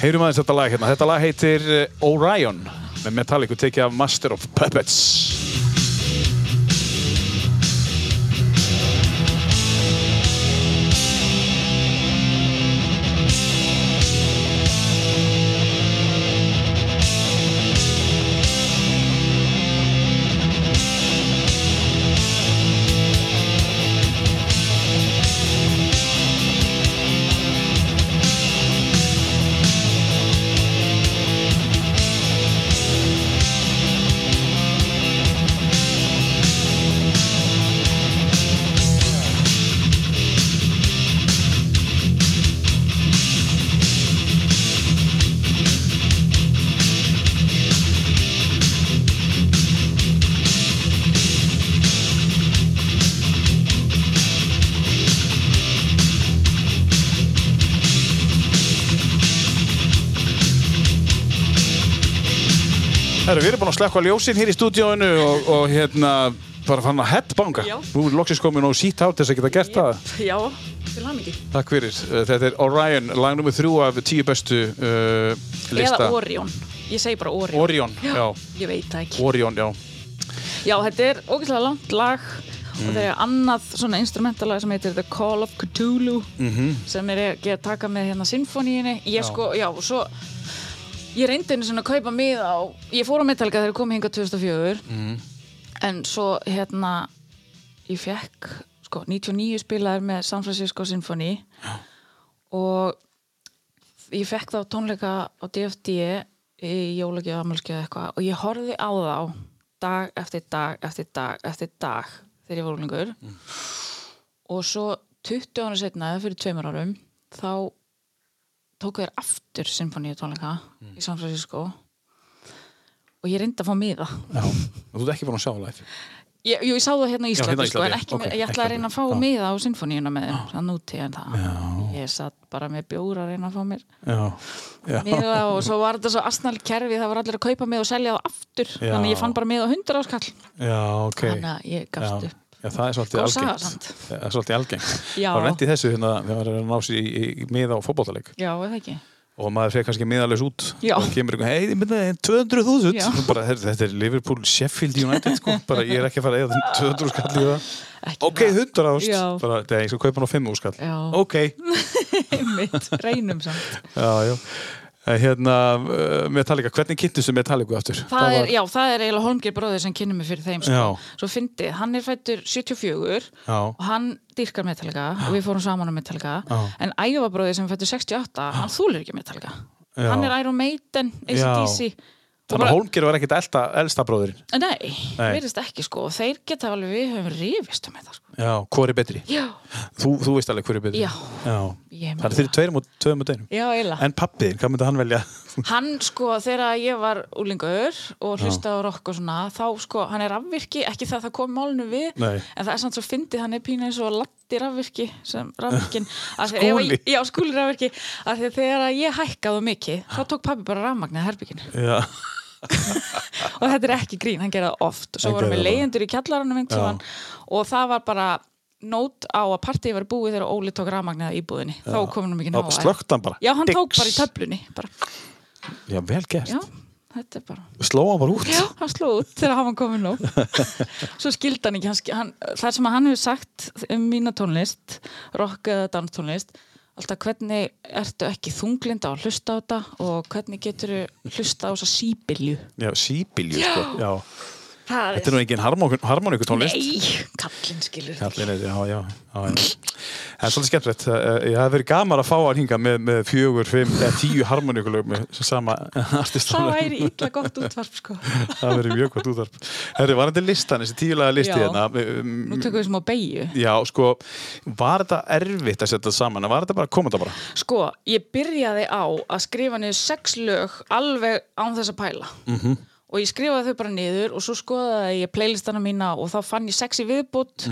S1: Heyrum aðeins þetta lag hérna. Þetta lag heitir eh, Orion með Metallica tekið af Master of Puppets. Herru, við erum búin að slekka ljósin hér í stúdíóinu og, og hérna bara fann að headbanga.
S3: Já.
S1: Nú er loksins komin og sítt hát þess að geta gert það.
S3: Já, til hann ekki
S1: Takk fyrir. Eh, Þetta er Orion, lag nummið þrjú af tíu bestu uh, lista.
S3: Eða Orion, ég segi bara Orion
S1: Orion, já.
S3: Ég veit það ekki
S1: Orion, já.
S3: Já, þetta er ógeðslega langt lag og það er annað svona instrumentalag sem heitir The Call of Cthulhu sem er ekki að taka með hérna sinfoníinni Ég sko, já, og svo ég reyndi einu svona að kaupa miða á ég fór á Metallica þegar ég kom hingað 2004 en svo hérna ég fekk sko 99 spilaðir með San Francisco Symphony og ég fekk þá tónleika á DFD í jólagjöf, ammalskjöf eitthvað og ég horfði á þá dag eftir dag eftir dag eftir dag þegar ég
S1: Mm.
S3: var úlingur og svo 20 ára setna eða fyrir tveimur árum þá tóku þér aftur symfóníutónleika
S1: Mm.
S3: í San Francisco og ég reyndi að fá miða
S1: Já. Þú ert ekki búin að sjá live.
S3: ég, jú, ég sá það hérna í Íslandi,
S1: hérna á
S3: sko, en
S1: Íslandi,
S3: ekki,
S1: ok,
S3: ég
S1: ekki
S3: ætlaði að reyna að fá
S1: alveg, já.
S3: miða á symfóníuna með þeim það núti en það ég satt bara með bjóra að reyna að fá mér
S1: Já. Já.
S3: miða og svo var þetta svo asnal kerfi það var allir að kaupa miða og selja það aftur
S1: Já.
S3: þannig að ég fann bara miða á 100 áskall
S1: Já, ok.
S3: þannig að ég gafst
S1: Já.
S3: upp
S1: Já, það er svolítið
S3: Góð saga
S1: algengt.
S3: samt.
S1: Það er svolítið algengt.
S3: Já.
S1: Það lendi í þessu hérna þegar maður er að ná sér í, í, í miða á fótballtaleik
S3: já, eða ekki
S1: og maður fer kannski miðalaus út
S3: Já.
S1: og kemur einhvern hei, ég myndi 200.000
S3: Já.
S1: Nú bara, "Heyrðu, þetta er Liverpool, Sheffield United sko. bara ég er ekki að fara að eða 200 skall í það
S3: Ekki
S1: ok,
S3: það.
S1: 100 ást
S3: Já.
S1: bara, "Nei, ég skal kaupa hann á 5 skall
S3: Já.
S1: ok,
S3: Einmitt, reynum samt
S1: já, já Eh, hérna, uh, Metallica, hvernig kynntustu Metallica aftur?
S3: það er, já, það er eiginlega Holmgeir bróðir sem kynni mig fyrir þeim sko.
S1: Já.
S3: svo fyndi, hann er fættur 74
S1: Já.
S3: og hann dýrkar Metallica og við fórum saman á Metallica
S1: Já.
S3: en Æva bróðir sem fættur 68 hann þúlir ekki Metallica
S1: Já.
S3: hann er Iron Maiden,
S1: Já.
S3: ACDC og
S1: Þannig að
S3: bara-
S1: Holmgir var ekkit elsta, elsta bróðurinn
S3: Nei,
S1: Nei.
S3: verðist ekki sko og þeir geta alveg, við höfum rifist um þetta sko.
S1: Já, hvor er betri?
S3: Já,
S1: Þú, þú veist alveg hver er betri
S3: Já. Ég
S1: Þannig
S3: meina
S1: að þeir eru tveir mot, tveir mot einum
S3: já, eiginlega
S1: En pappiðin, hvað myndi hann velja?
S3: Hann sko, þegar ég var úlingur og hlustaði á rokk og svona þá sko, hann er rafvirki, ekki það að það kom málnu við,
S1: Nei.
S3: en það er samt svo fyndið hann er pína eins og latti rafvirki sem rafvirkin, af því að
S1: Skúli.
S3: ef að- já, skúli rafvirki, af því að þegar að ég hækkaði of mikið, þá tók pabbi bara rafmagnið að herbygginu
S1: Já,
S3: og þetta er ekki grín, hann gerði það oft og svo
S1: Hann
S3: vorum
S1: gerði
S3: við
S1: það.
S3: leyendur í kjallaranum einhvern tímann og það var bara nót á að partíi var búið þegar Óli tók rafmagnið að íbúðinni, þá komum við ekki
S1: Þá slökkt hann bara.
S3: Já, hann tók
S1: Dix.
S3: bara í töflunni bara.
S1: já vel gert
S3: Já, þetta er bara
S1: Sló hann bara út
S3: Já, hann sló út þegar hann var komin nóg Svo skildi hann ekki hann, sk- hann, Það sem hann hefur sagt um mína tónlist rock eða danstónlist alltaf hvernig ertu ekki þunglinda að hlusta á þetta og hvernig getur hlusta á þessa síbylju
S1: Já, síbílju sko já.
S3: Það
S1: Þetta er nú engin harmoníku tónlist
S3: Nei, kallinn skilur
S1: Já, já, já, já, já. En svolítið skemmtilegt, eh, ég hef verið gaman að fá hann hinga með, með fjögur, fimm, eða tíu harmoníkulögum með sama artist
S3: Það væri illa gott útvarp sko
S1: það verður mjög gott útvarp Herri, var þetta listan, þessi tíulega listi
S3: Já.
S1: hérna um,
S3: Nú tökum við smá beigju
S1: Já, sko, var þetta erfitt að setja þetta saman var þetta bara, kom þetta bara
S3: Sko, ég byrjaði á að skrifa niður sex lög alveg án þess að pæla -hmm. og ég skrifaði þau bara niður og svo skoðaði ég playlistana mína og þá fann ég sex í viðbútt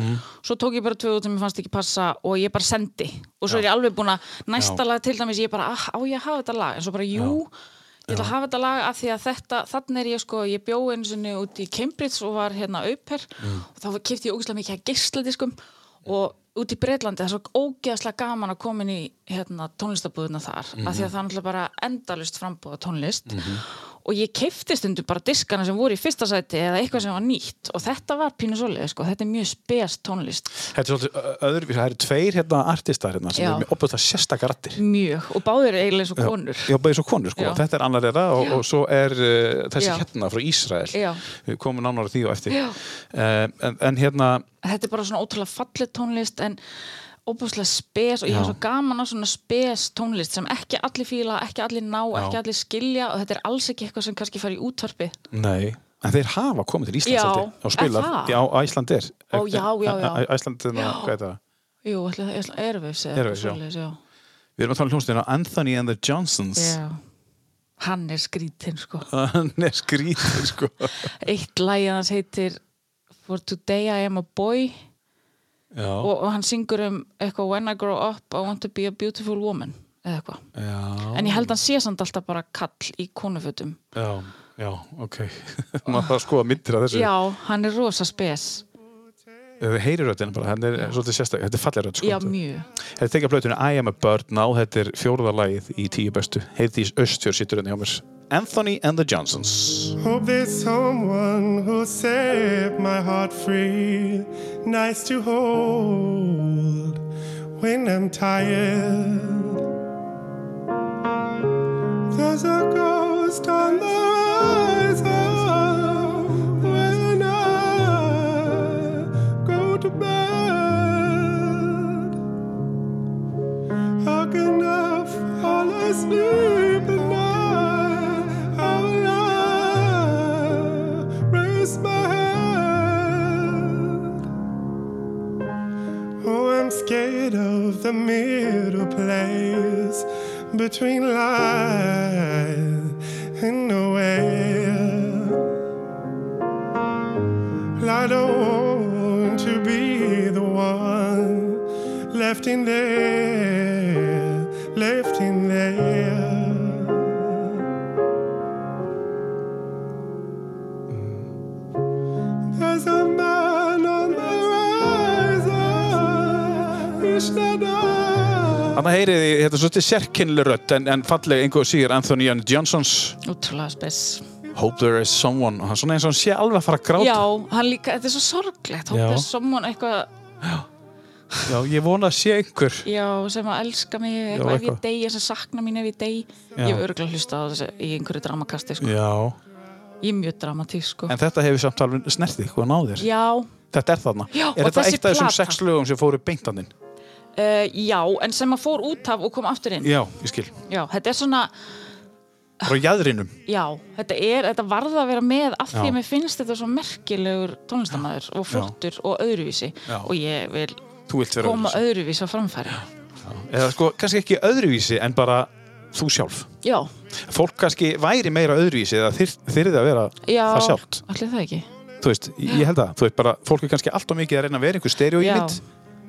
S3: svo tók ég bara tvö út sem ég fannst ekki passa og ég bara sendi og svo er ég alveg búin að næsta
S1: Já.
S3: lag til dæmis ég bara, ah, á ég að hafa þetta lag en svo bara, jú, ég ætla að hafa þetta lag af því að þetta, þannig er ég sko, ég bjó einu sinni út í Cambridge og var hérna auper og þá kipti ég ógeðslega mikið að geisladiskum og út í Breitlandi það er svo ógeðslega gaman að koma inn í hérna, tónlistabúðuna þar af því að það er náttúrulega bara endalust frambúða tónlist og ég keipti stundu bara diskana sem voru í fyrsta sæti eða eitthvað sem var nýtt og þetta var pínu svoleið sko, þetta er mjög spes tónlist
S1: Þetta er svolítið öðruvísa, það eru tveir hérna artistar hérna sem
S3: Já.
S1: eru með opið það sérstakar rattir
S3: mjög og báður eiginlega eins og konur
S1: Já, bæði svo konur sko,
S3: Já.
S1: þetta er annar þeirra og, og svo er uh, þessi
S3: Já.
S1: hérna frá Ísrael
S3: Já.
S1: við komum nánar að því og eftir
S3: Já.
S1: uh, en, en hérna,
S3: þetta er bara svona ótrúlega falleg tónlist en óbúslega spes og ég hef
S1: Já.
S3: svo gaman á svona spes tónlist sem ekki allir fíla, ekki allir ná, ekki allir skilja og þetta er alls ekki eitthvað sem kannski fer í útvarpi
S1: nei en þeir hafa komið til Íslands
S3: Já,
S1: held ég, og spilar,
S3: er það?
S1: já, Æsland er
S3: Ó, já, já, já.
S1: Æsland er, hvað er það?
S3: Jú, ætli það er erfis
S1: Airwaves, já. Við erum að tala um hljómsveitina Anthony and the Johnsons
S3: já Hann er skrítinn sko
S1: Hann er skrítið sko
S3: Eitt lagið hans heitir For Today I Am A Boy
S1: Já,
S3: og, og hann syngur um eitthvað When I Grow Up I Want To Be A Beautiful Woman eða eitthvað
S1: já,
S3: En ég held hann sé samt alltaf bara kall í konufötum
S1: já, já, ok Maður þarf að skoða myndir af þessu
S3: Já, hann er rosa spes
S1: Þau heyrir röddina bara, hann er svolítið sérstak Þetta er fallega rödd sko
S3: Já, mjög
S1: Þetta er tekið af plötunni I am a bird now Þetta er fjórðalagið í tíu bestu Heiðdís Östfjörn sittur henni hjá mér Anthony and the Johnsons
S6: Hope there's someone who'll set my heart free, nice to hold when I'm tired. There's a ghost on the horizon when I go to bed. How can I fall asleep at night? How will I raise my head? Oh, I'm scared of the middle place between lies and nowhere. I don't want to be the one left in there, left in there. There's a man on the horizon. He shall die.
S1: Þannig heyrið þið, þetta er svolítið sérkennileg rödd en, en falleg einhver síður Anthony and Johnsons
S3: Útrúlega spes.
S1: Hope There Is Someone og hann svona eins og hann sé alveg að fara að gráta
S3: Já, hann líka, þetta er svo sorglegt.
S1: Já.
S3: Hópið someone eitthvað,
S1: Já, ég vona að sé einhver
S3: já, sem að elska mig, eitthvað ef
S1: eitthvað.
S3: ég degi, sem sakna mín ef ég degi.
S1: Já.
S3: Ég hef örgulega hlustað á þessu í einhverju dramakasti, sko.
S1: Já,
S3: Ég er mjög dramatísk, sko.
S1: en þetta hefur samt alveg snertið hvað náðir
S3: Já,
S1: Þetta er þarna
S3: Já, og
S1: Er þetta
S3: þessi
S1: eitt af þessum
S3: plata.
S1: sex lögum sem fóru beintaninn?
S3: uh, já, en sem að fór út af og kom aftur inn.
S1: Já, ég skil
S3: Já, þetta er svona,
S1: Frá jæðrinum
S3: já, þetta er, þetta varða að vera með af því
S1: Já.
S3: að mér finnst þetta svo merkilegur tónlistamæður og flottur og öðruvísi
S1: Já.
S3: og ég vil
S1: Þú vilt vera
S3: koma
S1: öðruvísi.
S3: öðruvísi á framfæri.
S1: Eða sko, kannski ekki öðruvísi en bara þú sjálf
S3: Já,
S1: Fólk kannski væri meira öðruvísi eða þyr, þyrði að vera
S3: já,
S1: það sjálft
S3: allir það ekki.
S1: Þú veist, ég held það Þú veist bara, fólk er kannski alltaf mikið að reyna að vera einhver stereoímynd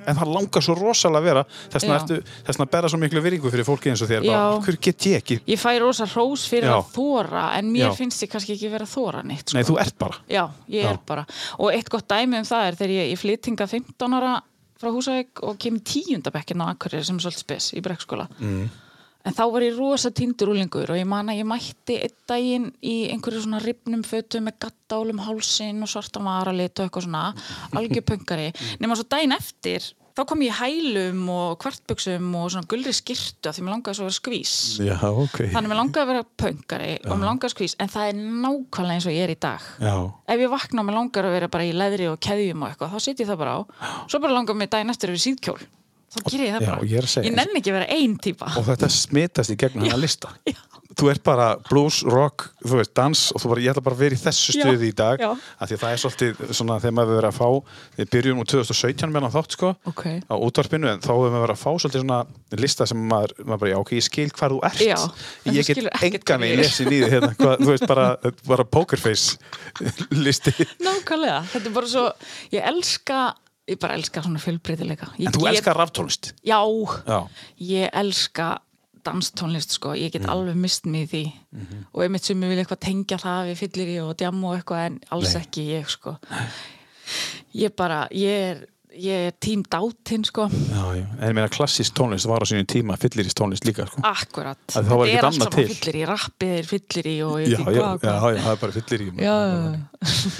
S1: En það langar svo rosalega að vera Þess vegna
S3: Já.
S1: ertu- þess vegna berða svo miklu viringu fyrir fólki eins og þér bara,
S3: Já.
S1: af Hverju get ég ekki?
S3: Ég fæ rosa hrós fyrir
S1: Já.
S3: að þóra en mér
S1: Já.
S3: finnst ég kannski ekki vera að þóra neitt. Sko.
S1: Nei, þú ert bara
S3: Já, ég
S1: Já.
S3: er bara. Og eitt gott dæmi um það er þegar ég, ég flytinga 15 ára frá Húsavík og kem í tíundabekkin á Akureyri sem er svolítið spes í brekkskóla. Mm. En þá var ég rosa tindur úlingur og ég man að ég mætti einn daginn í einhverju svona ripnum fötum með gattálum hálsin og svartan varalit og eitthvað svona algjörpöngari. Nefnum svo daginn eftir þá kom ég í hælum og kvartbuxum og svona gulri skirtu af því mér langaði svo að vera skvís.
S1: Já, ok
S3: Þannig að mér langaði að vera pöngari og mér langaði að skvís en það er nákvæmlega eins og ég er í dag.
S1: Já,
S3: Ef ég vakna og mér langar að vera bara í leðri og keðjum og eitthvað, þá setjum ég það bara á. Svo bara langar mér daginn eftir að vera í síðkjól. Þá gerir ég það
S1: Já,
S3: bara.
S1: ég er að segja eins.
S3: nenni ekki að vera ein típa.
S1: og þetta smitast í gegnum hennar lista Þú ert bara blues, rock, þú veist, dans og þú bara, ég ætla bara að vera í þessu
S3: Já,
S1: stuði í dag
S3: já.
S1: af því að það er svolítið svona þegar maður hefur verið að fá við byrjum úr 2017 meðan þátt sko
S3: Ok.
S1: á útvarpinu en þá hefur maður verið að fá svolítið svona lista sem maður, maður bara, já ok, ég skil hvar þú ert
S3: Já, en þú
S1: ég
S3: skilur
S1: get
S3: ekkert
S1: engan
S3: hver
S1: veginn
S3: ég er.
S1: lesin í því hérna, hvað, þú veist bara, þetta er bara pokerface listi
S3: Nákvæmlega. Þetta er bara svo, ég elska, ég bara elska svona fjölbreytileika. Ég
S1: en þú
S3: get-
S1: elskar raftónlist
S3: Já,
S1: Já.
S3: ég elska danstónlist sko, ég
S1: Mm.
S3: get alveg mist mig í því
S1: Mhm.
S3: og einmitt sem ég vil eitthvað tengja það við fyllir í og djamma og eitthvað en alls
S1: Nei.
S3: ekki ég sko ég bara, ég er, ég er tím dátinn sko,
S1: já, já. en ég meina klassist tónlist var á sínum tíma fyllirist tónlist líka sko.
S3: akkurat
S1: Að þá var
S3: Þetta
S1: ekkert
S3: er allt
S1: annað
S3: saman
S1: til.
S3: fyllir í, rappið er fyllir í og ég
S1: já, já,
S3: veit
S1: já,
S3: ekki
S1: já,
S3: hvað
S1: já,
S3: hvað.
S1: það er bara fyllir í
S3: já, já,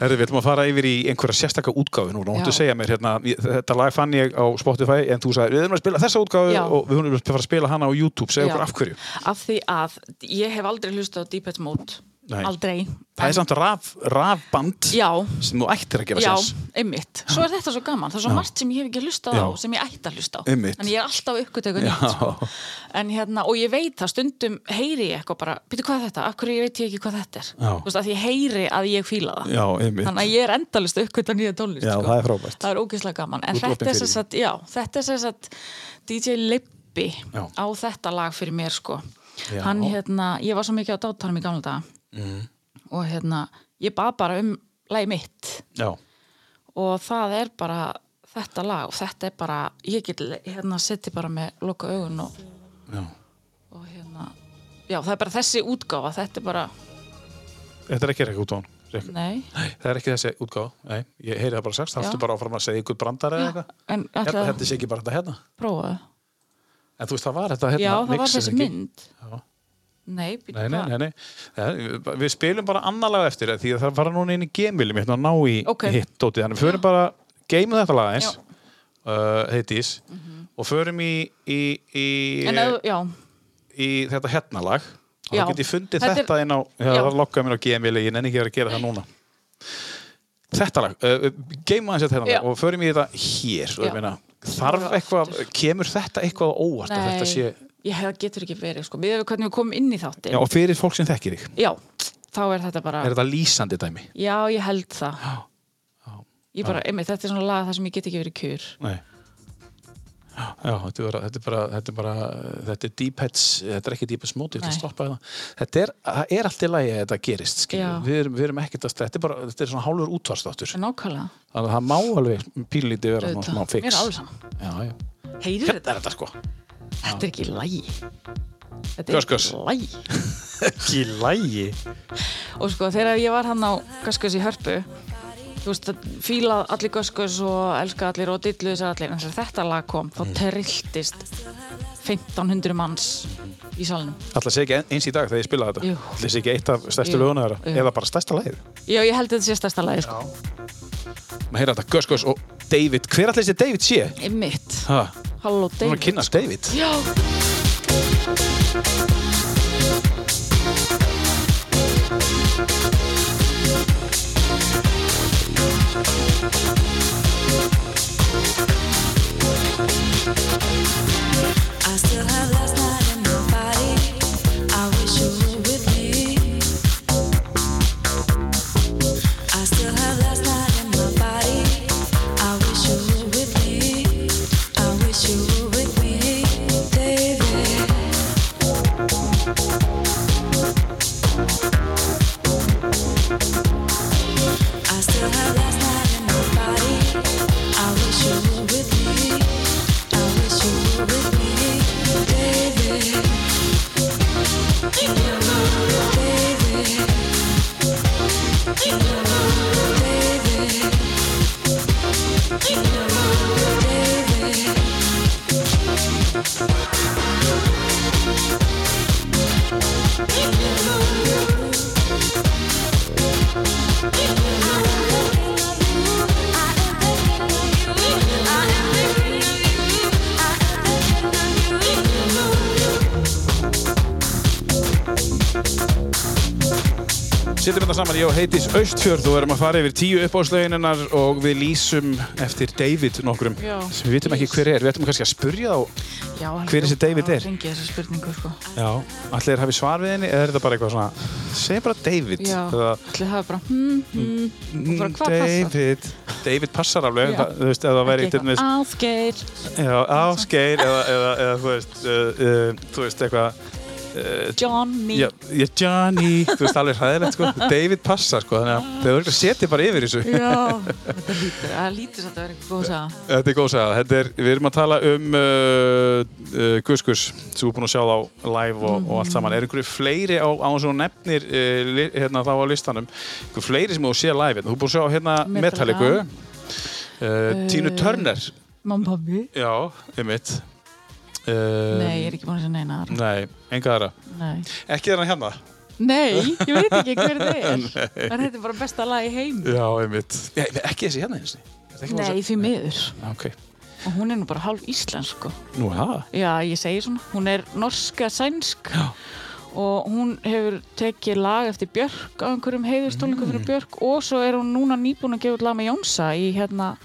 S1: Herri, við ætlum að fara yfir í einhverja sérstaka útgáfi núna og máttu
S3: Já.
S1: segja mér hérna, ég- þetta lag fann ég á Spotify en þú sagði, við erum að spila þessa útgáfi
S3: Já.
S1: og við erum að fara að spila hana á YouTube, segja okkur
S3: Já.
S1: af hverju
S3: af því að ég hef aldrei hlustað á Deepest Mode,
S1: Nei.
S3: aldrei
S1: Það er samt raf, rafband
S3: Já.
S1: sem þú ættir að gera
S3: Já,
S1: sérs
S3: einmitt. Svo er þetta svo gaman. Það er svo margt sem ég hef ekki hlustað á,
S1: Já.
S3: sem ég ætti að hlusta á.
S1: Einmitt.
S3: En ég er alltaf uppgötegu nýtt. Sko. En hérna, og ég veit það, stundum heyri ég eitthvað bara, byrju hvað er þetta? Af hverju veit ég ekki hvað þetta er?
S1: Já.
S3: Þú veist, að ég heyri að ég fíla það.
S1: Já, einmitt.
S3: Þannig að ég er endalist að uppgötta nýja tónlist.
S1: Já,
S3: sko.
S1: það er frábært.
S3: Það er ógeðslega gaman. En
S1: Þú ert opin
S3: þetta er
S1: fyrir
S3: sem
S1: því.
S3: sagt, já, þetta er sem sagt DJ Lippi
S1: Já.
S3: á þetta lag fyrir mér, sko.
S1: Já. Mm.
S3: Hann, hérna, ég var svo mikið á dátanum í gamla daga og hérna, ég bað bara um lagi mitt
S1: Já,
S3: og það er bara þetta lag og þetta er bara ég get hérna setja bara með loka augun og,
S1: já
S3: og hérna já það er bara þessi útgáfa þetta er bara,
S1: Þetta er ekki rekka útgáfan Nei,
S3: nei
S1: það er ekki þessi útgáfa, nei, ég heyri það bara sérst Það
S3: Já.
S1: ertu bara áfram að segja ykkur brandar eða eitthvað
S3: en
S1: Ég held
S3: alltaf
S1: að
S3: að
S1: Þetta sé ekki bara þetta hérna
S3: prófa það.
S1: En þú veist, það var þetta hérna
S3: já það
S1: mix,
S3: var
S1: er
S3: þessi
S1: ekki?
S3: mynd
S1: Já.
S3: nei, býttu
S1: Nei, nei,
S3: hvað?
S1: nei, nei. Ja, við spilum bara annarlega eftir því að það fara núna inn í gemilum hérna að ná í
S3: Ok.
S1: hitt dótið, þannig við förum bara geimum þetta lag eins
S3: Já. Mhm.
S1: uh, heitís og förum í í, í,
S3: en ef, já,
S1: í þetta hérna lag og
S3: Já.
S1: þá get ég fundið
S3: Þetta
S1: þetta,
S3: er-
S1: inn á já,
S3: Já.
S1: það lokkaði mér á gemili, ég nenni ekki að vera að gera það núna þetta lag, uh, geimum aðeins þetta hérna
S3: Já.
S1: lag og förum í þetta hér og
S3: Já.
S1: ég meina, þarf
S3: Bara
S1: eitthvað kemur þetta eitthvað á óvart að þetta
S3: nei
S1: sé,
S3: ég hef, getur ekki verið sko við hefum hvernig við komum inn í þáttin
S1: já, og fyrir fólk sem þekkir þig
S3: já, þá er þetta bara
S1: er þetta lýsandi dæmi?
S3: já, ég held það ég bara, einmitt, þetta er svona lag þar sem ég get ekki verið kjur
S1: Nei Já, þetta er, bara- þetta er bara, þetta er bara, þetta er deepheads, þetta er ekki deepheads móti, þetta
S3: Nei.
S1: stoppaði það. Þetta er, það er allt í lagi að þetta gerist,
S3: Já.
S1: skiljum. Við, erum- við erum ekkert að, þetta er bara, þetta er svona hálfur útvarstáttur.
S3: Nákvæmlega,
S1: Þannig að það má alveg pínlítið vera svona
S3: auðvitað.
S1: smá fix.
S3: Mér er alveg saman.
S1: Já, já.
S3: Heyrir
S1: Hérna
S3: þetta?
S1: er þetta sko.
S3: Þetta er ekki lægi. Þetta
S1: Gus, Gus.
S3: ekki lægi.
S1: Ekki lægi.
S3: og sko þegar ég var hann á Gaskus í Hörpu þú veist að fíla allir Gaskus og elska allir og dillu þessar allir en þegar þetta lag kom þá
S1: Mm.
S3: trilltist 1500 manns í salnum
S1: Alltaf sé ekki ein- eins í dag þegar ég spilaði þetta.
S3: Jú.
S1: Alltaf sé ekki eitt af stærstu
S3: Jú.
S1: löguna þeirra.
S3: Jú.
S1: Eða bara stærsta lagið.
S3: já ég held að þetta sé stærsta lagi sko.
S1: Maður heyra þetta, Gus Gus og David. Hver allir þessi David sé?
S3: mitt,
S1: Ha,
S3: Halló
S1: hún er að
S3: David sko.
S1: kynnast David.
S3: já,
S2: I still have last night in my body. I wish you were with me. I still have last night in my body. I wish you were with me. I wish you were with me, David. I still have last night in my body. I wish you were with me. I wish you were with me, David. David.
S1: Sittum þetta saman, ég og heitis Austfjörð og erum að fara yfir tíu uppáðslögininnar og við lýsum eftir David nokkrum
S3: Já.
S1: sem við vitum ekki hver er, við ætlum kannski að spurja þá
S3: já
S1: Hver er þessi David er?
S3: Rengi þessa spurningu sko
S1: Já, allir hafi svar við henni eða er þetta bara eitthvað svona segja bara David
S3: já,
S1: Eða,
S3: allir hafa bara hmm, hmm,
S1: "Mm,
S3: bara, hvað passar?"
S1: David David passar alveg,
S3: Já.
S1: það, þú veist, ef það væri
S3: Ekki
S1: til
S3: eitthvað, Ah.
S1: dæmis
S3: Ásgeir
S1: já, Ásgeir eða, eða, eða þú veist, uh, uh, þú veist eitthvað uh,
S3: Johnny
S1: Já, já, Johnny, þú veist alveg hræðilegt sko, David passar sko, þannig að þau eru setið bara yfir þessu.
S3: Já, þetta lítur, það lítur satt að vera eitthvað góð saga
S1: Þetta er góð saga. Þetta er, við erum að tala um uh, uh, Guskus sem við búin að sjá þá live og, og allt saman. Er einhverju fleiri á, á þessu nefnir uh, li, hérna, þá á listanum? Einhverju fleiri sem þú sé live? Hérna. Þú er búin að sjá hérna Metallica,
S3: Metallica. Eh.
S1: uh, Tínu Turner,
S3: Mamma pabbi
S1: já, einmitt. Uh,
S3: Nei, ég er ekki búin að segja neina aðra.
S1: Nei, enga aðra.
S3: Nei.
S1: Ekki þarna hérna?
S3: Nei, ég veit ekki hver það er. En þetta er bara besta lag í heim.
S1: Já, einmitt. Já, ekki þessi hérna eins og
S3: Nei, því miður.
S1: Ok,
S3: Og hún er nú bara hálf íslensk, sko.
S1: nú er það.
S3: Já, ég segi svona. Hún er norska sænsk.
S1: Já.
S3: Og hún hefur tekið lag eftir Björk á einhverjum heiðurstólningum
S1: Mm.
S3: fyrir Björk og svo er hún núna nýbúin að gefa út lag með Jónsa í hérna,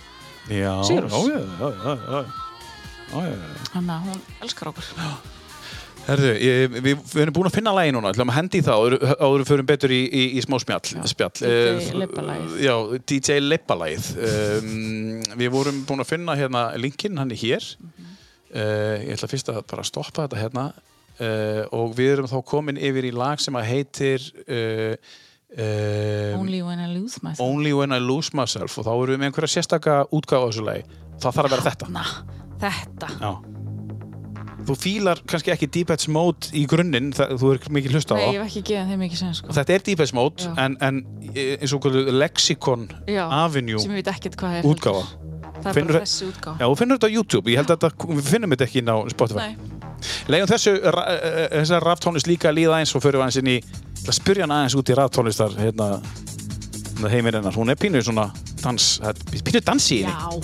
S1: Já,
S3: Sigurós.
S1: já, já, já, já, já, já, já, já.
S3: hann að hún elskar okkur.
S1: Herðu, ég, við, við erum búin að finna lagi núna, ætlum að hendi í það áður áður við förum betur í, í, í smá spjall. spjall.
S3: DJ
S1: Eh,
S3: Leppalagið.
S1: Já, DJ Leppalagið. Um, við vorum búin að finna hérna linkinn, hann er hér. Uh, ég ætla fyrst að bara stoppa þetta hérna uh, og við erum þá komin yfir í lag sem að heitir... Uh, um,
S3: Only when I lose myself.
S1: Only When I Lose Myself og þá erum við með einhverja sérstaka útgáfa á þessu lagi. Það þarf að vera þetta.
S3: Na, þetta.
S1: Já. Þú fílar kannski ekki Deepheads Mode í grunninn, það- þú er mikið hlusta á
S3: Nei,
S1: það.
S3: ég hef ekki geðið þeim ekki sen, sko.
S1: Og Þetta er Deepest Mode,
S3: Já.
S1: en, en e, eins og okkur Lexicon
S3: Já,
S1: Avenue
S3: Sem ég veit ekkert hvað er.
S1: útgáfa.
S3: heldur. Það er
S1: Finnur-
S3: bara þessi útgáfa.
S1: Já, þú finnur þetta á YouTube, ég held að þetta, við finnum þetta ekki inn á Spotify.
S3: Nei.
S1: Leigum þessu, ra- eh, þessar raftónlist líka að líða eins og fyrir aðeins inn í, það spyrja hann aðeins út í raftónlistar, hérna, hérna heimirinnar. Hún er pínu svona dans, það er pínu dansi í henni.
S3: Já.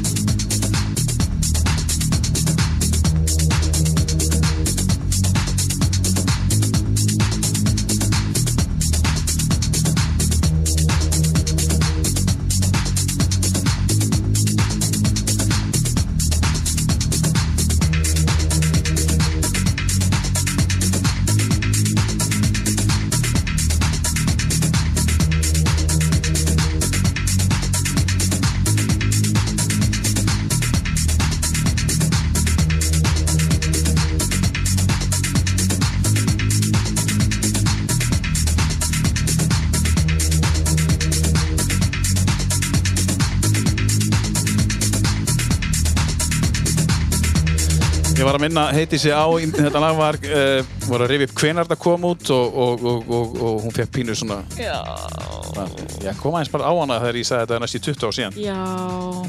S2: Only
S1: Ég var að minna heiti sig á, í- þetta lag var, uh, var að rifja upp hvenar þetta kom út og, og, og, og, og hún fekk pínu svona,
S3: Já,
S1: ég kom aðeins bara á hana þegar ég sagði þetta er næst í 20 ár síðan.
S3: já,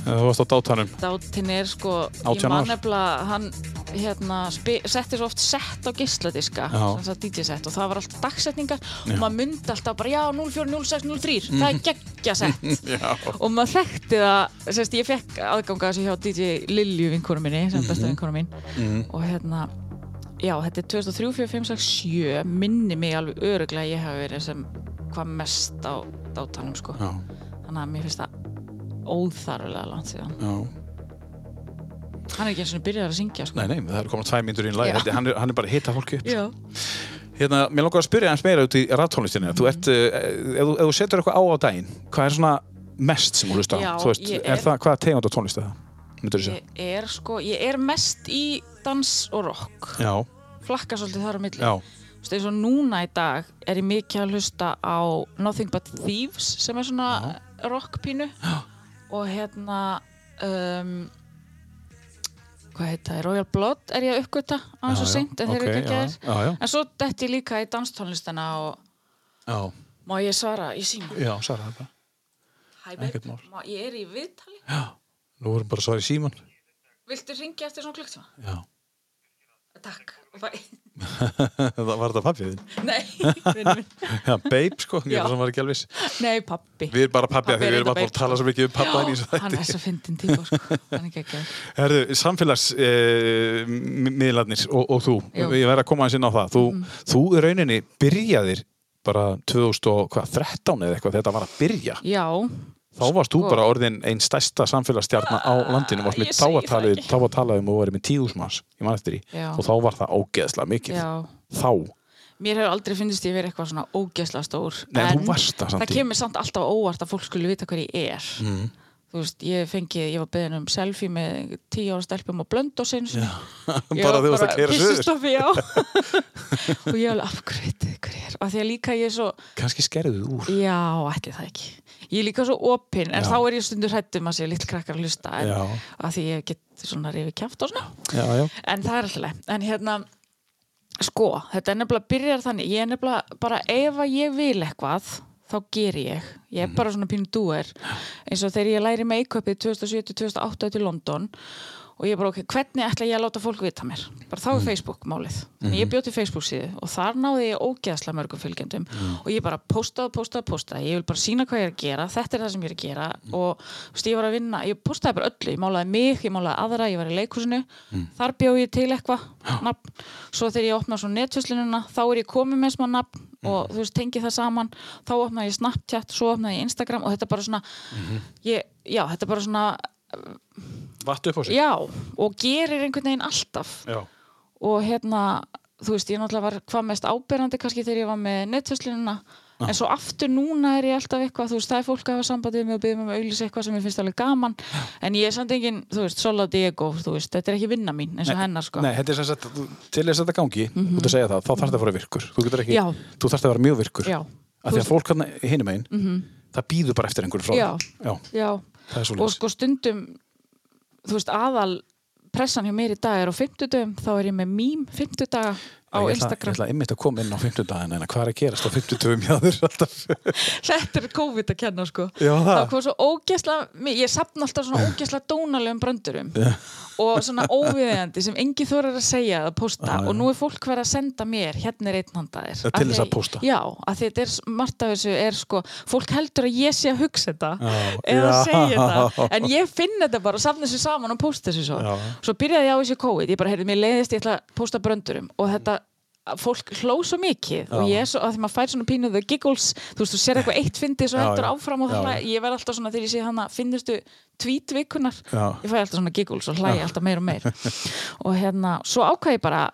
S1: Þú varst á dátanum.
S3: dátinn er sko,
S1: 18
S3: ég
S1: ár.
S3: man nefnilega, hann hérna, spi- setti svo oft sett á gísladiska,
S1: Já.
S3: sem sagt DJ-sett og það var alltaf dagsetningar og maður myndi alltaf bara, já, 04, 06, 03, það
S1: Mhm.
S3: er geggja sett.
S1: Já.
S3: og maður þekkti það sérst, ég fekk aðganga þessu hjá DJ Lilju vinkonum minni, sem besta
S1: Mhm.
S3: vinkonum mín og hérna já, þetta er 2003, 4, 5, 6, 7 minni mig alveg öruglega að ég hafi verið sem hvað mest á dátanum sko.
S1: Já,
S3: þannig að mér finnst það óþarfilega langt síðan
S1: já.
S3: hann er ekki eins og byrjar að syngja sko.
S1: Nei, nei, það er komin tvæ myndur í einn lag,
S3: Já.
S1: Þetta- hann, er- hann er bara að hita fólki upp.
S3: já,
S1: Hérna, mér langar að spyrja hans meira út í raftónlistinni. Þú ert, uh, ef, þú- ef þú setur eitthvað á á daginn, hvað er svona mest sem þú hlusta á?
S3: Já,
S1: Þú veist,
S3: ég
S1: er,
S3: er-
S1: það, hvaða tegund á tónlist er það? Myndur þú segja?
S3: ég er sko ég er mest í dans og rock
S1: Já,
S3: flakka svolítið þar á milli
S1: já,
S3: Þú veist, eins og núna í dag er ég mikið að hlusta á Nothing But Thieves sem er svona rockpínu og hérna um, hvað heit það, Royal Blood er ég að uppgöta á
S1: Já,
S3: þessu
S1: já,
S3: seint en þeir
S1: ok,
S3: eru ekki að
S1: já,
S3: gera
S1: já, já.
S3: en svo dett ég líka í danstónlistina og
S1: já,
S3: má ég svara í síma
S1: já, svarða þetta.
S3: Hæ, babe,
S1: ekkert mál.
S3: má, ég er í viðtali
S1: Nú erum bara svarið síman.
S3: viltu ringja eftir svona klukktíma?
S1: Já.
S3: Takk Og bara-
S1: það var þetta pappið þinn.
S3: Nei, vinur minn.
S1: Já, babe, sko, ég
S3: Já.
S1: var sem var ekki alveg viss.
S3: Nei, pappi
S1: Við erum bara pappið
S3: Pabbi
S1: að því
S3: er
S1: við erum
S3: enda
S1: alltaf að
S3: babe, sko.
S1: tala svo mikið um pappa henni í þessu
S3: Hann er
S1: þætti.
S3: svo fyndin típa sko. Hann er ekki ekki
S1: Herðu, samfélagsmiðlarnir uh, og, og þú,
S3: Jú.
S1: ég verð að koma aðeins inn á það. Þú,
S3: Mhm.
S1: þú í rauninni byrjaðir bara 2013 eða eitthvað, þetta var að byrja.
S3: Já,
S1: Þá varst þú bara orðin einn stærsta samfélagsstjarnar á landinu, varst
S3: Ah, ég
S1: með
S3: segi það
S1: táatalið,
S3: ekki.
S1: táatalið um og verið með tíðusmanns, ég man eftir í.
S3: Já.
S1: Og þá var það ógeðslega mikið.
S3: Já.
S1: Þá.
S3: Mér hefur aldrei finnist ég verið eitthvað svona ógeðslega stór
S1: Nei,
S3: en
S1: þú varst það samt í-
S3: kemur samt alltaf á óvart að fólk skulle vita hver ég er mm. Þú veist, ég fengi, ég var beðin um selfie með tíu ára stelpum og blönd og sinns Já,
S1: Bara þú varst að keyra suður.
S3: Pissustofi, já Og ég alveg afgriðið hver er Og því að líka ég er svo,
S1: Kanski skerðu þú úr.
S3: já, ætli það ekki Ég er líka svo opin, en
S1: Já.
S3: þá er ég stundur hrættum að sé lill krakkar að hlusta en,
S1: Já.
S3: að því ég get svona rifið kjaft og svona
S1: Já, já.
S3: en það er alltaf leið. en hérna sko, þetta er nefnilega byrjar þannig ég er nefnilega bara ef að ég vil eitthvað þá ger ég, ég er bara svona pínu dúer eins og þegar ég læri make-upið 2007-2008 til London og ég er bara ok, hvernig ætla ég að láta fólk vita mér bara þá er Facebook málið mm ég bjóti Facebook síðu og þar náði ég ógeðslega mörgum fylgjendum og ég bara postaði, postaði, postaði ég vil bara sína hvað ég er að gera, þetta er það sem ég er að gera og þú veist, ég var að vinna, ég postaði bara öllu ég málaði mig, ég málaði aðra, ég var í leikhúsinu þar bjó ég til eitthvað nafn, svo þegar ég opna svo netfjöslununa þá er ég komið með smá nafn og þú veist, tengi það saman, þá opnaði ég Snapchat, svo opnaði ég Instagram og þetta bara svona ég, já, þetta bara svona
S1: Vattu upp á sig.
S3: já, og gerir einhvern veginn alltaf
S1: Já.
S3: og hérna, þú veist, ég náttúrulega var hvað mest ábyrjandi kannski þegar ég var með netfjöslunina en svo aftur núna er ég alltaf eitthvað, þú veist, það er fólk að hafa sambandið mig og byrja mig um að auglýsa eitthvað sem ég finnst alveg gaman en ég er samt engin, þú veist, Sola Diego þú veist, þetta er ekki vinna mín eins og hennar sko Mhm.
S1: Nei, þetta er sem sagt, þú- til þess að þetta gangi, þú ert að segja það, þá þarf það að fara virkur. Þú getur ekki,
S3: Já.
S1: þú þarf það að vera mjög virkur.
S3: Já. Mhm.
S1: Af því að fólk hann hinum einn, það býður bara eftir einhverju frá
S3: Já.
S1: þér. Já.
S3: Já,
S1: Það er svoleiðis.
S3: og sko stundum þú veist aðal pressan hjá mér í dag er á 50 dögum þá er ég með mím 50 daga
S1: ég
S3: á
S1: ætla, ég
S3: Instagram
S1: ætla einmitt að koma inn á 50 daginn en hvað er að gerast á 50 dögum hjá þér alltaf
S3: Þetta er COVID að kenna sko
S1: Já, það.
S3: Það kom svo ógeðslega mi- Ég sapna alltaf svona ógeðslega dónalegum bröndurum og svona óviðeigandi sem engi þorir að segja að posta og nú er fólk verið að senda mér hérna er einn handaðir
S1: Til þess að pósta.
S3: Já, að þetta er s- margt af þessu er sko fólk heldur að ég sé að hugsa þetta
S1: Já,
S3: eða
S1: já.
S3: segja þetta en ég finn þetta bara og sapna þessu saman og posta þessu svo
S1: Já.
S3: Svo byrjaði ég á þessu COVID ég bara heyrði mér leiðist ég ætla að posta bröndurum og þetta að fólk hló svo mikið og ég er svo að því maður fær svona pínu the giggles þú veist, þú sér eitthvað eitt fyndið svo
S1: Já,
S3: heldur
S1: já.
S3: áfram og
S1: Já,
S3: þannig ég verð alltaf svona þegar ég sé hann að finnustu tvítvíkunar,
S1: Já.
S3: ég fæ alltaf svona giggles og hlæja alltaf meir og meir og hérna, svo ákvað ég bara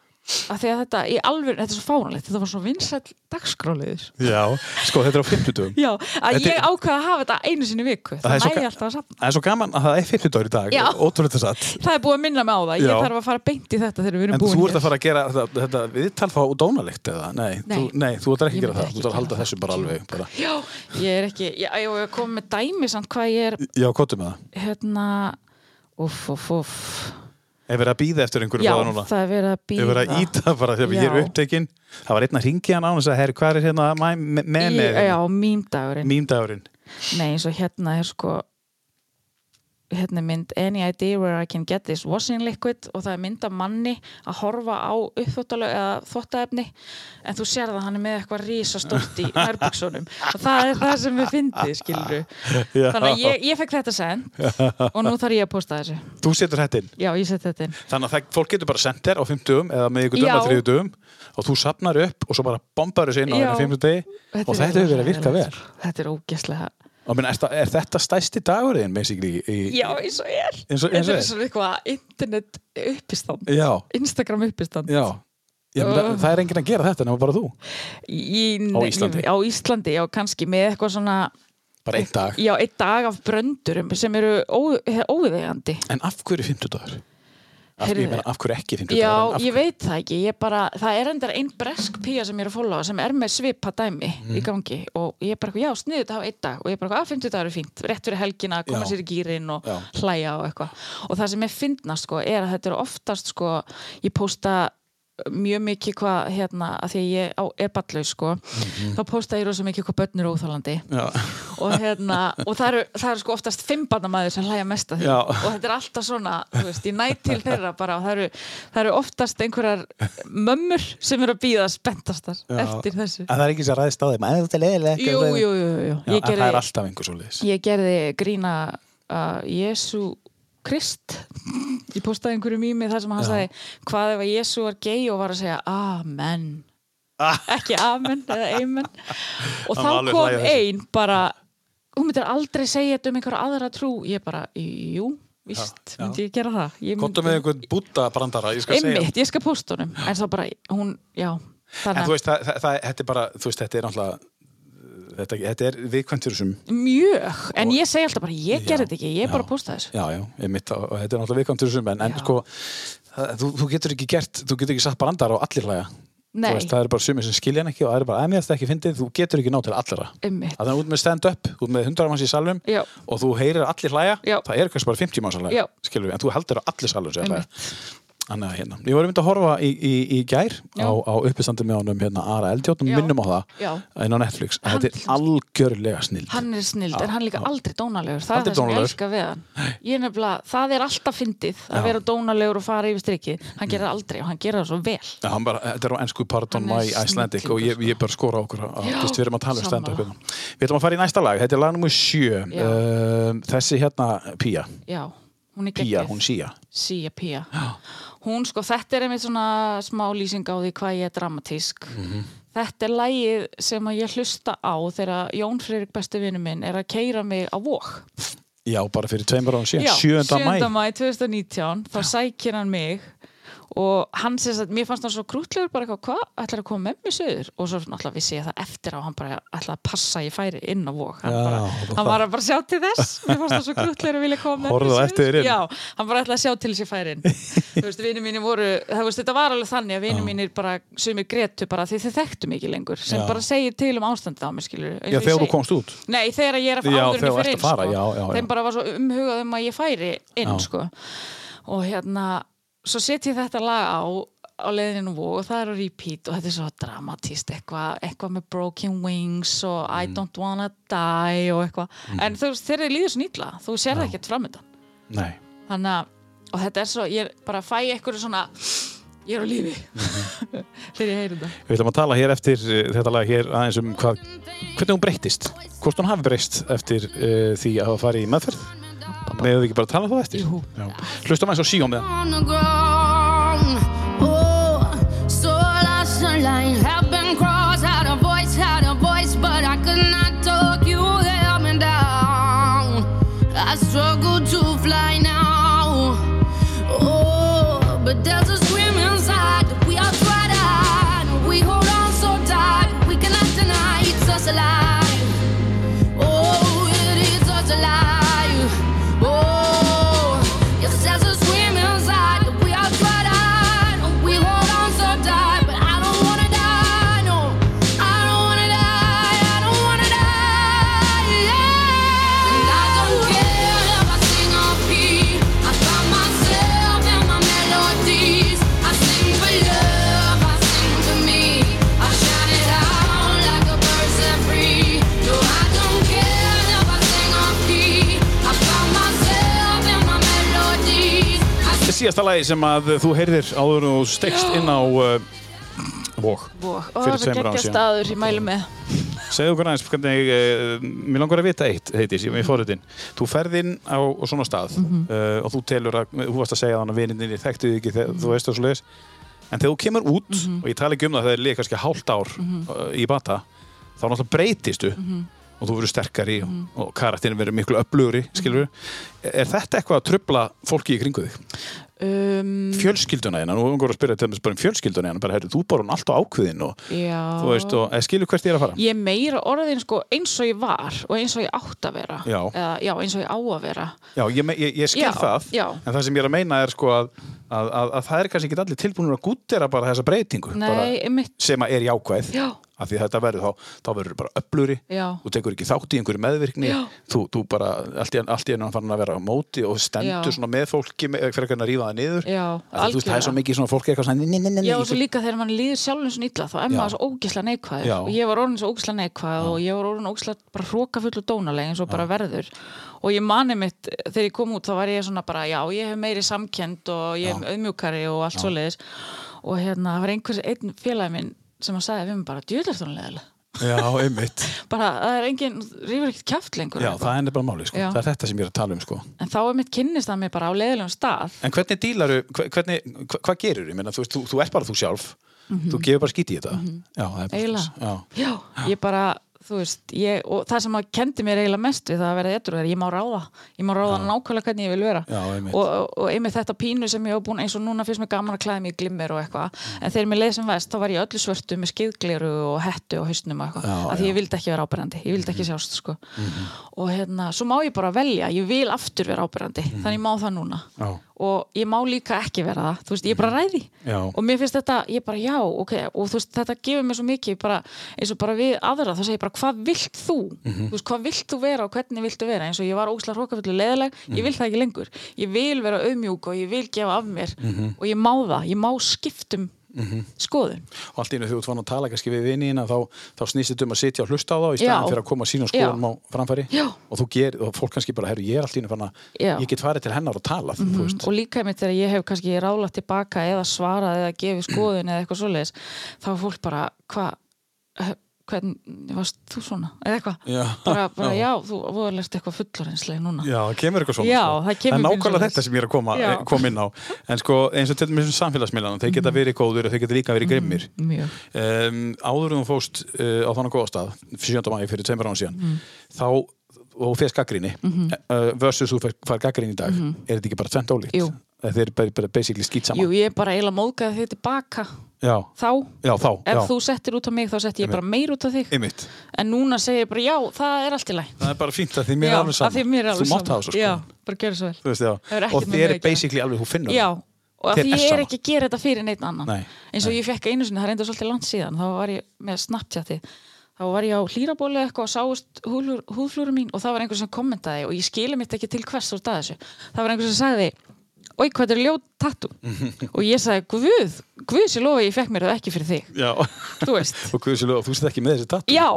S3: að því að þetta í alveg, þetta er svo fánalegt þetta var svo vinsæll dagskráliður
S1: Já, sko þetta er á 50 dögum
S3: já, að
S1: Þetta er-
S3: ég ákvað að hafa þetta einu sinni í viku
S1: Það er
S3: það
S1: svo
S3: nægja
S1: ga-
S3: alltaf að safna
S1: Það er svo gaman að það er 50 dagur í dag
S3: Já.
S1: ótrúlega þess að
S3: það er búið að minna mig á það, ég
S1: Já.
S3: þarf að fara beint í þetta þegar við
S1: En
S3: erum búin
S1: þú ert að fara að gera þetta, þetta viðtal þá dónalegt eða? Nei,
S3: Nei.
S1: Þú, nei, þú ert ekki að
S3: Ég
S1: gera
S3: myndi
S1: það,
S3: ekki
S1: þú ert að
S3: gera
S1: halda
S3: það.
S1: þessu bara alveg bara.
S3: já, ég er ekki, já, já, ég kom með dæmi samt hvað ég er
S1: Já, kóttu með það
S3: hérna uff, uff, uff
S1: Er verið að býða eftir einhverju
S3: Já,
S1: báða núna?
S3: það er verið að
S1: Er verið
S3: býða
S1: að íta bara þegar ég er
S3: ah. Já.
S1: upptekinn? Það var einn að ringja hann á þess að herri, hvað er hérna mæ- me- menið?
S3: Já, mýmdagurinn
S1: Mýmdagurinn.
S3: Nei, eins og hérna er sko hérna er mynd Any idea where I can get this washing liquid og það er mynd af manni að horfa á uppþóttalega eða þvottaefni en þú sér að hann er með eitthvað risastórt í nærbuksunum og það er það sem við fyndið, skilur
S1: Já.
S3: þannig að ég, ég fekk þetta send og nú þarf ég að posta þessu
S1: Þú setur hættin.
S3: Já, ég seti þetta inn
S1: Þannig að það, fólk getur bara sendt þér á 50 eða með ykkur dögum
S3: Já.
S1: að 30 og þú sapnar upp og svo bara bombar þessu inn á
S3: Já.
S1: þennan 50 degi og þetta hefur verið að virka vel.
S3: Þetta er ógeslega
S1: Og minn, er, þa- er þetta stæsti dagurinn, basically? Í,
S3: Já, eins og er
S1: Eins og- eins og
S3: Þetta
S1: er.
S3: er svona eitthvað internet uppistand
S1: Já,
S3: Instagram uppistand
S1: já. Ég, uh.
S3: Ugh.
S1: Það er enginn að gera þetta nema bara þú.
S3: í,
S1: Á Íslandi.
S3: á Íslandi, já, kannski með eitthvað svona
S1: Bara einn dag.
S3: já, einn dag af bröndurum sem eru ó- óviðeigandi
S1: En af hverju 50 dagur? Af,
S3: Heyrðu.
S1: ég meina, af hverju ekki 50
S3: Já,
S1: dagur?
S3: ég veit það ekki, ég bara það er endar einn bresk pía sem ég er að fóla sem er með svipa dæmi í
S1: Mhm.
S3: gangi og ég er bara, eitthvað, já, sniðu þetta á einn dag og ég er bara, að 50 dagur er fínt, rétt fyrir helgina koma
S1: Já.
S3: sér í gýrin og
S1: Já.
S3: hlæja og eitthvað og það sem ég fyndna, sko, er að þetta eru oftast, sko, ég pósta mjög mikið hvað, hérna að því að ég á, er ballaus, sko
S1: Mhm.
S3: þá pósta ég rosa mikið hvað börn eru óþálandi
S1: Já.
S3: og, hérna, og það, eru, það eru sko oftast fimmbarnamæður sem hlæja mest að því
S1: Já.
S3: og þetta er alltaf svona, þú veist, ég næ til þeirra bara og það eru, það eru oftast einhverjar mömmur sem eru að býða spenntastar eftir þessu
S1: En það er ekki sem ræðist á þeim. "Æ, Þetta er leiðilegt.
S3: Jú, jú, jú, jú.
S1: Já,
S3: Ég,
S1: en það er
S3: gerði,
S1: alltaf einhver svo leiðis.
S3: ég gerði grína að Jésu Krist ég postaði einhverju mými þar sem hann sagði hvað ef að Jésu var gay og var að segja amen ekki amen eða amen
S1: Hann
S3: og þá
S1: var alveg
S3: kom
S1: hlæja þessu.
S3: ein bara hún myndir aldrei segja þetta um einhverja aðra trú ég bara, jú, víst
S1: já.
S3: myndi ég gera það ég
S1: Kontum með einhvern búta brandara, ég skal segja.
S3: einmitt, ég skal posta honum en þá bara, hún, já
S1: En
S3: þannig
S1: þú
S3: að
S1: veist, það, það, það, þetta er bara, þú veist, þetta er náttúrulega, þetta, þetta er viðkvæmtur þessum,
S3: mjög, en ég segi alltaf bara ég
S1: Já,
S3: gerði þetta ekki, ég
S1: já.
S3: bara posta þessu
S1: já, já, ég mitt á, og þetta er náttúrulega viðkvæmtur þessum, en, en
S3: Já.
S1: sko, það, þú, þú getur ekki gert, þú getur ekki satt brandara og allir hlæja.
S3: Nei.
S1: Þú veist, það eru bara sumir sem skilja hann ekki og það eru bara, að mér þetta ekki fyndið, þú getur ekki ná til allra.
S3: Einmitt.
S1: Að það er út með stand-up, út með hundra manns í salum
S3: Já.
S1: og þú heyrir allir hlæja,
S3: Já.
S1: það er kannski bara 50 manns að
S3: Já.
S1: hlæja, skilur við, en þú heldur að allir salum sem hlæja.
S3: Einmitt.
S1: Þannig að hérna, ég var einmitt að horfa í, í, í gær
S3: Já.
S1: á, á uppistandi með honum hérna Ara Eldjótt og
S3: Já.
S1: minnum á það
S3: Já.
S1: en á Netflix,
S3: Hann-
S1: þetta er algjörlega snill
S3: hann er snild,
S1: Já,
S3: en hann er líka
S1: já.
S3: aldrei dónalegur það
S1: Aldrei
S3: er það sem ég
S1: dónalegur.
S3: elska við hann ég er nefnilega, það er alltaf fyndið að
S1: Já. Mm.
S3: vera dónalegur og fara yfir strikki hann gerir það aldrei og hann gerir það svo vel
S1: Já, hann bara, þetta er á ennsku Pardon
S3: Hann er
S1: My Icelandic og
S3: snillingur,
S1: ég, ég bara skora á okkur að,
S3: Já,
S1: þú veist, við erum að tala um stand-up
S3: sammála.
S1: hérna. Við ætlum að fara í næsta lag, þetta er lag nummer sjö
S3: Já.
S1: um, Þessi hérna, Pía
S3: já, hún er
S1: Pía, hún
S3: geggjuð
S1: síja
S3: Sia Pía hún sko, þetta er einmitt svona smá lýsing á því hvað ég er dramatísk
S1: Mhm.
S3: þetta er lægið sem að ég hlusta á þegar Jón Friðrik besti vinnu minn er að keira mig á vók
S1: Já, bara fyrir tveimur árum síðan,
S3: Já,
S1: 7. mæ
S3: 7. mæ 2019 þá sækir hann mig og hann sér að mér fannst hann svo krútlegur bara eitthvað, hvað, ætlar að koma með mér söður og svo náttúrulega vissi ég það eftir á hann bara ætlar að passa að ég færi inn á vok hann,
S1: Já,
S3: bara,
S1: og
S3: hann
S1: það-
S3: var að bara sjá til þess mér fannst hann svo krútlegur að vilja koma með
S1: Horfðu á
S3: mér
S1: eftir þér inn.
S3: Já, hann bara ætlaði að sjá til þess að ég færi inn þú veist, vinur mínir voru, það veist, þetta var alveg þannig að vinur mínir bara, sumir grétu bara því þið þekktu mig ekki lengur, sem
S1: Já.
S3: bara segir til um ástandið á mér, skilur
S1: Já, þegar þú komst út
S3: Nei, þegar ég er að
S1: Já,
S3: áður en
S1: þegar
S3: ég
S1: þú
S3: fer
S1: ert
S3: inn
S1: að fara,
S3: sko.
S1: já, já, já.
S3: þeim bara var svo umhugað um að ég færi inn
S1: Já.
S3: sko. og hérna svo set ég þetta lag á á leiðinu vó og það er á repeat og þetta er svo dramatíst eitthvað eitthvað með broken wings og I
S1: Mm.
S3: don't wanna die og eitthvað en þú veist, þegar þið líður svo nýtla þú sér það ekkert framöndan
S1: Nei,
S3: þannig að og þetta er svo, ég er bara að fæ eitthvað svona ég er á lífi
S1: Mhm.
S3: þegar ég heyri þetta
S1: við ætlum að tala hér eftir eh, þetta lag hér aðeins um hvað, hvernig hún breyttist hvort hún hafi breyst eftir uh, því að hafa farið í meðferð Megðu við ekki bara tala um það eftir
S3: Jú.
S1: Já. Hlustum aðeins á síum með
S7: on the ground. Oh, so lost sunlight have been crossed. Had a voice, had a voice, but I could not talk. You held me down. I struggle to fly now. Oh, but there's a scream inside. We are dried out. We hold on so tight. We cannot deny it's us alive. Oh, it is us alive. Oh, yes, there's a scream inside. We are
S1: síðasta lagi sem að eh, þú heyrðir áður og stekst inn á uh, Vók.
S3: og og
S1: Fyrir
S3: það er
S1: tveimur árum
S3: geggja
S1: síðan.
S3: staður ég mælu með
S1: Segðu okkur aðeins hvernig, uh, mér langar að vita eitt, heitis, ég fór þetta inn. Þú ferð inn á, á svona stað uh, og þú telur að, þú varst að segja þannig að vininni þekktu þig ekki, þegar, þú veist það svo leiðis. En þegar þú kemur út, og ég tala ekki um það, það er líka kannski hálft ár uh, í bata, þá náttúrulega breytistu og þú verður sterkari og, og karakterin verður miklu öflugri, skilur Er þetta eitthvað að trubla fólki í kringu þig?
S3: um,
S1: Fjölskylduna hérna, nú erum við að spyrja til þess bara um fjölskylduna hérna, bara herri, þú bara hún alltaf ákveðin og, þú
S3: já
S1: veist, og eh, skilur hvert ég er að fara?
S3: ég er meira orðin sko eins og ég var og eins og ég átt að vera
S1: Já.
S3: Eða, já eins og ég á að vera
S1: Já, ég, me- ég, ég skil
S3: Já,
S1: það,
S3: já.
S1: en það sem ég er að meina er sko að, að, að, að það er kannski ekki allir tilbúinur að gúttera bara þessa breytingu bara,
S3: nei, einmitt
S1: sem að er jákvæð
S3: Já.
S1: af því þetta verður þá, þá verður bara öfluri
S3: Já.
S1: þú tekur ekki þátt í einhverju meðvirkni
S3: Já.
S1: þú, þú bara, allt í, allt í enn fann að vera á móti og stendur
S3: Já.
S1: svona með fólki með- frekar en að rífa það niður
S3: Já,
S1: Af því, þú veist, það er svo
S3: algjörlega.
S1: mikið svona fólki eitthvað svona, "Nei, nei, nei, nei,
S3: Já,
S1: ég
S3: og svo
S1: get-
S3: líka þegar mann líður sjálfum svona illa þá er
S1: Já.
S3: maður svo ógislega neikvæður
S1: Já.
S3: og ég var orðin svo ógislega neikvæð og ég var orðin ógislega bara hrókafull og dónaleg eins og bara verður og ég mani mitt eh, þegar ég kom út þá var ég svona bara já, ég hef meiri samkend og ég hef auðmjúkari og allt svoleiðis og hérna, það var einhvers einn félagi minn sem að sagði við mig bara, djúðlertónlega
S1: Já, einmitt
S3: bara, það er engin, rífur ekkert kjaft lengur
S1: Já, það er bara máli, sko.
S3: Já.
S1: það er þetta sem ég er að tala um sko.
S3: en þá er mitt kynnist að mér bara á leiðilegum stað
S1: En hvernig dílaru, hvernig, hva- hvað gerur ég meina, þú, veist, þú, þú ert bara þú sjálf þú gefur bara skíti í þetta Já, það er bara
S3: Mhm. Eiginlega.
S1: svoleiðis. Já.
S3: já, ég bara, þú veist ég, og það sem að kendi mér eiginlega mest við það að vera eitthvað er ég má ráða, ég má ráða nákvæmlega hvernig ég vil vera
S1: Já, einmitt.
S3: og, og- og einmitt þetta pínu sem ég hef búin eins og núna finnst mér gaman að klæða mig í glimmer og eitthvað
S1: Mm.
S3: en þegar mér leið sem vest þá var ég í öllu svörtu með skeiðgleru og hettu og hausnum og
S1: Já, Mhm.
S3: eitthvað, af því ég vildi ekki vera ábyrrandi ég vildi ekki sjást sko og hérna, svo má ég bara velja, ég vil aftur vera ábyrrandi, þannig ég má það núna
S1: Mhm. Já.
S3: og ég má líka ekki vera það þú veist, ég bara ræði
S1: Já.
S3: og mér finnst þetta, ég bara já, ok og þú veist, þetta gefur mér svo mikið bara, eins og bara við aðra, þá segir ég bara hvað vilt þú þú veist, hvað vilt þú vera og hvernig vilt þú vera eins og ég var óslega hrókafullu leðileg ég vil það ekki lengur, ég vil vera auðmjúk og ég vil gefa af mér og ég má það ég má skiptum skoðun
S1: og allt í einu þegar þú ert fann að tala kannski við vinina þá, þá snýst þetta um að sitja og hlusta á þá í staðan
S3: Já.
S1: fyrir að koma sínum skoðum á
S3: Já.
S1: framfæri
S3: Já.
S1: og þú ger, og fólk kannski bara, herru, ég er allt í einu fann að
S3: Já. Mhm.
S1: ég get farið til hennar og talað mm -hmm.
S3: og líka einmitt þegar ég hef kannski rálað tilbaka eða svarað eða gefið skoðun eða eitthvað svoleiðis, þá er fólk bara hvað, hvernig varst þú svona, eða eitthvað
S1: Já.
S3: bara, bara
S1: Já.
S3: já, þú voðalegt eitthvað fullorinsleg núna
S1: Já, það kemur eitthvað svona
S3: Já,
S1: sko.
S3: það
S1: er
S3: kemur
S1: nákvæmlega
S3: pínusvegis.
S1: þetta sem ég er að koma,
S3: Já.
S1: kom inn á En sko, eins og til dæmis um samfélagsmiðlana Þeir
S3: Mhm.
S1: geta verið góður og þeir geta líka verið grimmir
S3: mjög
S1: um, áður en þú fóst uh, á þannig góða stað 7. mæði fyrir tveimur án síðan
S3: Mm.
S1: þá, og fyrst gaggrinni mm
S3: Mhm.
S1: -hmm. uh, versus þú fær- fær gaggrinni í dag er þetta ekki bara tvent ólíkt? Eh,
S3: Jú.
S1: Þeir eru bara, bara basically skýt saman
S3: Jú, ég er bara eiginlega móðgæði þig tilbaka
S1: Já,
S3: þá,
S1: já, þá
S3: ef
S1: já.
S3: þú settir út á mig þá setti ég bara meir út á þig
S1: Einmitt.
S3: en núna segir ég bara já, það er allt í læg
S1: Það er bara fínt að því mér er alveg saman
S3: af því mér er alveg
S1: Þú mátt hafa
S3: saman
S1: svo sko
S3: já, bara gera svo
S1: Þú
S3: vel
S1: veist, já.
S3: Það hefur
S1: Og þér er
S3: ekkert með mig að gera.
S1: basically alveg, þú finnur
S3: já,
S1: það.
S3: og af
S1: Þér
S3: því
S1: er
S3: ég er
S1: sama.
S3: ekki að gera þetta fyrir neitt annan
S1: Nei,
S3: eins og ég fekk einu sinni, það reynda svolítið langt síðan þá var ég með Snapchati þá var ég á hlýrabóli eitthvað og sáust húlur, húðflúru mín og það var einhver sem kommentaði og ég skilum mitt ekki til hvers þú ert að þessu það var einhver sem sagði oi hvað þetta er ljót tattu og ég sagði guð, guð sér lofa að ég fekk mér það ekki fyrir þig,
S1: Já,
S3: þú veist
S1: og guðsilu, og þú sett ekki með þessi tatt
S3: já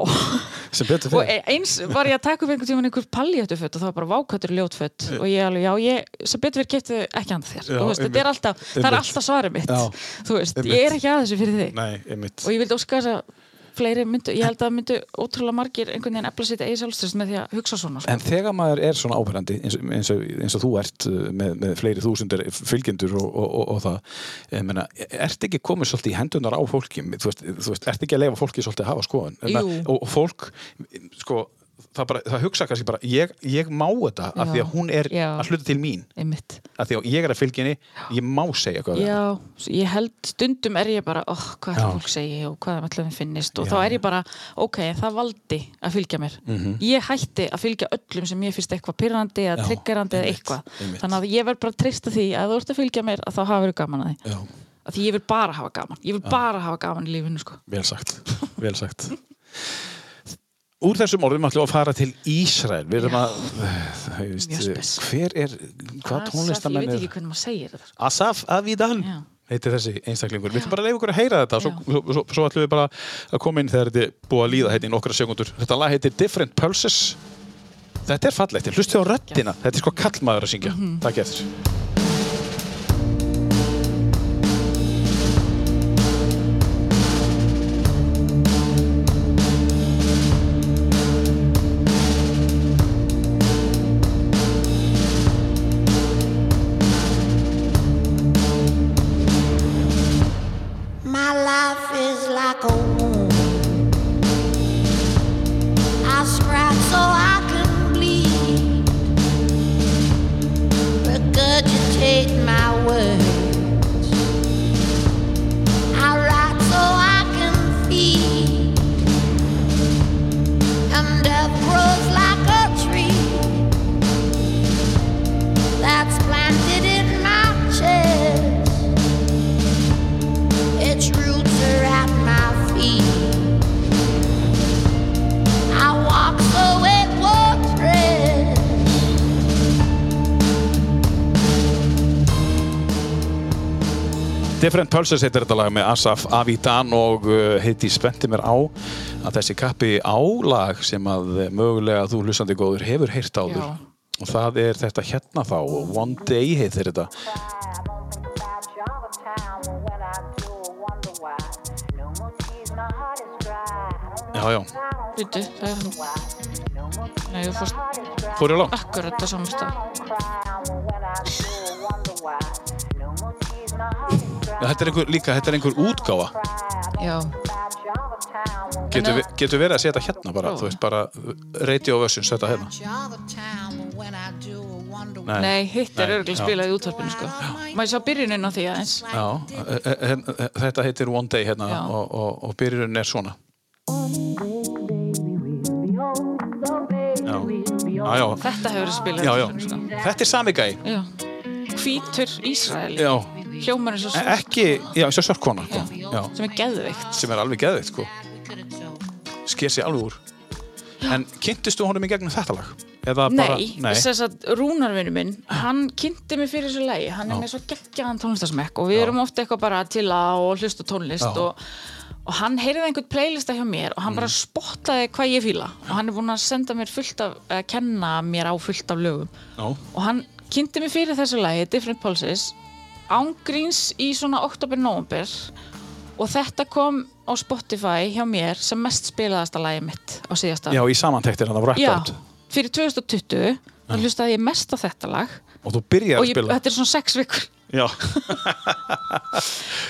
S1: sem betur
S3: og
S1: fyrir
S3: e- eins var ég að taka upp einhvern tímann einhver palliötufött og það var bara vákvættur ljótfött og ég alveg, já, ég, sem betur verið getið ekki handa þér,
S1: Já,
S3: þú veist, þetta
S1: einmitt.
S3: er alltaf það er
S1: Einmitt.
S3: alltaf svarið mitt,
S1: Já,
S3: þú veist
S1: einmitt.
S3: ég er ekki að þessu fyrir þig
S1: Nei, einmitt
S3: og ég vildi óska þess að fleiri myndu, ég held að myndu ótrúlega margir einhvern veginn efla sitt eigi sjálfströst með því að hugsa svona sko.
S1: En þegar maður er svona áberandi eins, og- eins, og, eins og þú ert uh, með, með fleiri þúsundir fylgjendur og, og, og, og það, ég meina, ert ekki komið svolítið í hendunar á fólki þú veist, þú veist, ert ekki að leifa fólki svolítið að hafa skoðun Ég meina,
S3: Jú.
S1: og, og fólk, sko það, bara, það hugsa kannski bara, ég, ég má þetta af
S3: Já.
S1: því að hún er
S3: Já.
S1: að hluta til mín
S3: einmitt,
S1: af því að ég er að fylgja henni, ég má segja eitthvað við hana.
S3: já, svo ég held stundum er ég bara, oh, hvað
S1: Já.
S3: er fólk segi og hvað er allavega finnist og þá er ég bara ok, það valdi að fylgja mér ég hætti að fylgja öllum sem ég finnst eitthvað pyrrandi
S1: Mhm. Já,
S3: eða triggerandi eða
S1: einmitt,
S3: eitthvað
S1: einmitt.
S3: þannig að ég verð bara að treysta því að ef þú ert að fylgja mér að þá hafa verið gaman að því
S1: Já,
S3: að því ég vil bara hafa gaman, ég vil bara hafa gaman í lífinu sko.
S1: vel sagt, vel sagt Úr þessum orðum ætlum við að fara til Ísrael Við erum að, ég veist,
S3: Mjög spes.
S1: hver er, hvað tónlistamenn
S3: ég
S1: er
S3: veit ekki hvernig maður segir þetta sko.
S1: Asaf Avidan
S3: Já.
S1: heitir þessi einstaklingur, við ætlum bara að leiða okkur að heyra þetta svo, svo, svo, svo ætlum við bara að koma inn þegar þetta er búið að líða hérna í nokkra sekundur þetta lag heitir Different Pulses
S3: Mhm.
S1: þetta er fallegt, hlustu á röddina þetta er sko kallmaður að syngja, takk eftir
S8: Different life is like a wound. I scrap so I can bleed. Regurgitate my words. I write so I can feed. And death grows like a tree that's planted in my chest. Its roots are at my feet. I walk so it won't rest.
S1: Different Pulses heitir þetta lag með Asaf Avidan og uh, heiti Spennti mér á að þessi kappi álag sem að uh, mögulega þú hlustandi góður hefur heyrt áður
S3: Já.
S1: og það er þetta hérna þá og One Day heitir þetta Já, já,
S3: Býtu, það er hann. Nei, þú fórst
S1: fór ég langt
S3: akkurat á saman stað.
S1: Já, Þetta er einhver, líka, þetta er einhver útgáfa
S3: Já,
S1: Getur,
S3: En að-
S1: vi- getur verið að setja hérna bara,
S3: Já.
S1: þú veist, bara uh, Radio Versions, þetta hérna
S3: nei, hitt er
S1: Nei,
S3: örgulega
S1: já.
S3: spilað í útvarpinu, sko. Maður sá byrjunin á því aðeins.
S1: Já, e- e- e- þetta heitir One Day hérna
S3: eh, Já.
S1: og, og, og byrjun er svona Já, já, já,
S3: Þetta hefur verið spilað í
S1: já, já.
S3: útvarpinu, sko.
S1: Þetta er sami gæi
S3: Já. Hvítur Ísrael.
S1: Já,
S3: Hljómar eins og
S1: e-
S3: svo,
S1: ekki, já, eins og sörkona sko. Já,
S3: sem er geðveikt.
S1: sem er alveg geðveikt sko Sker sig alveg úr En kynntistu honum í gegnum þetta lag? Eða bara,
S3: Nei, þess að Rúnarvinu minn, hann kynnti mig fyrir þessu lægi, hann er með svo geggjaðan tónlistasmekk og við erum ofta eitthvað bara til að og hlusta á tónlist
S1: Já.
S3: og, og hann heyrði einhvern playlista hjá mér og hann
S1: Mm.
S3: bara spottaði hvað ég fíla og hann er búin að senda mér fullt af, að kenna mér á fullt af lögum
S1: Já,
S3: og hann kynnti mig fyrir þessu lægi, Different Pulses, ángríns í svona oktober-november og þetta kom á Spotify hjá mér sem mest spilaðasta lægi mitt á síðasta
S1: já í samantektir hann af Wrapped
S3: Já,
S1: Out
S3: fyrir 2020 þá hlustaði ég mest á þetta lag
S1: Og þú byrjar
S3: og
S1: að
S3: ég,
S1: spila
S3: þetta er svona sex vikur
S1: Já,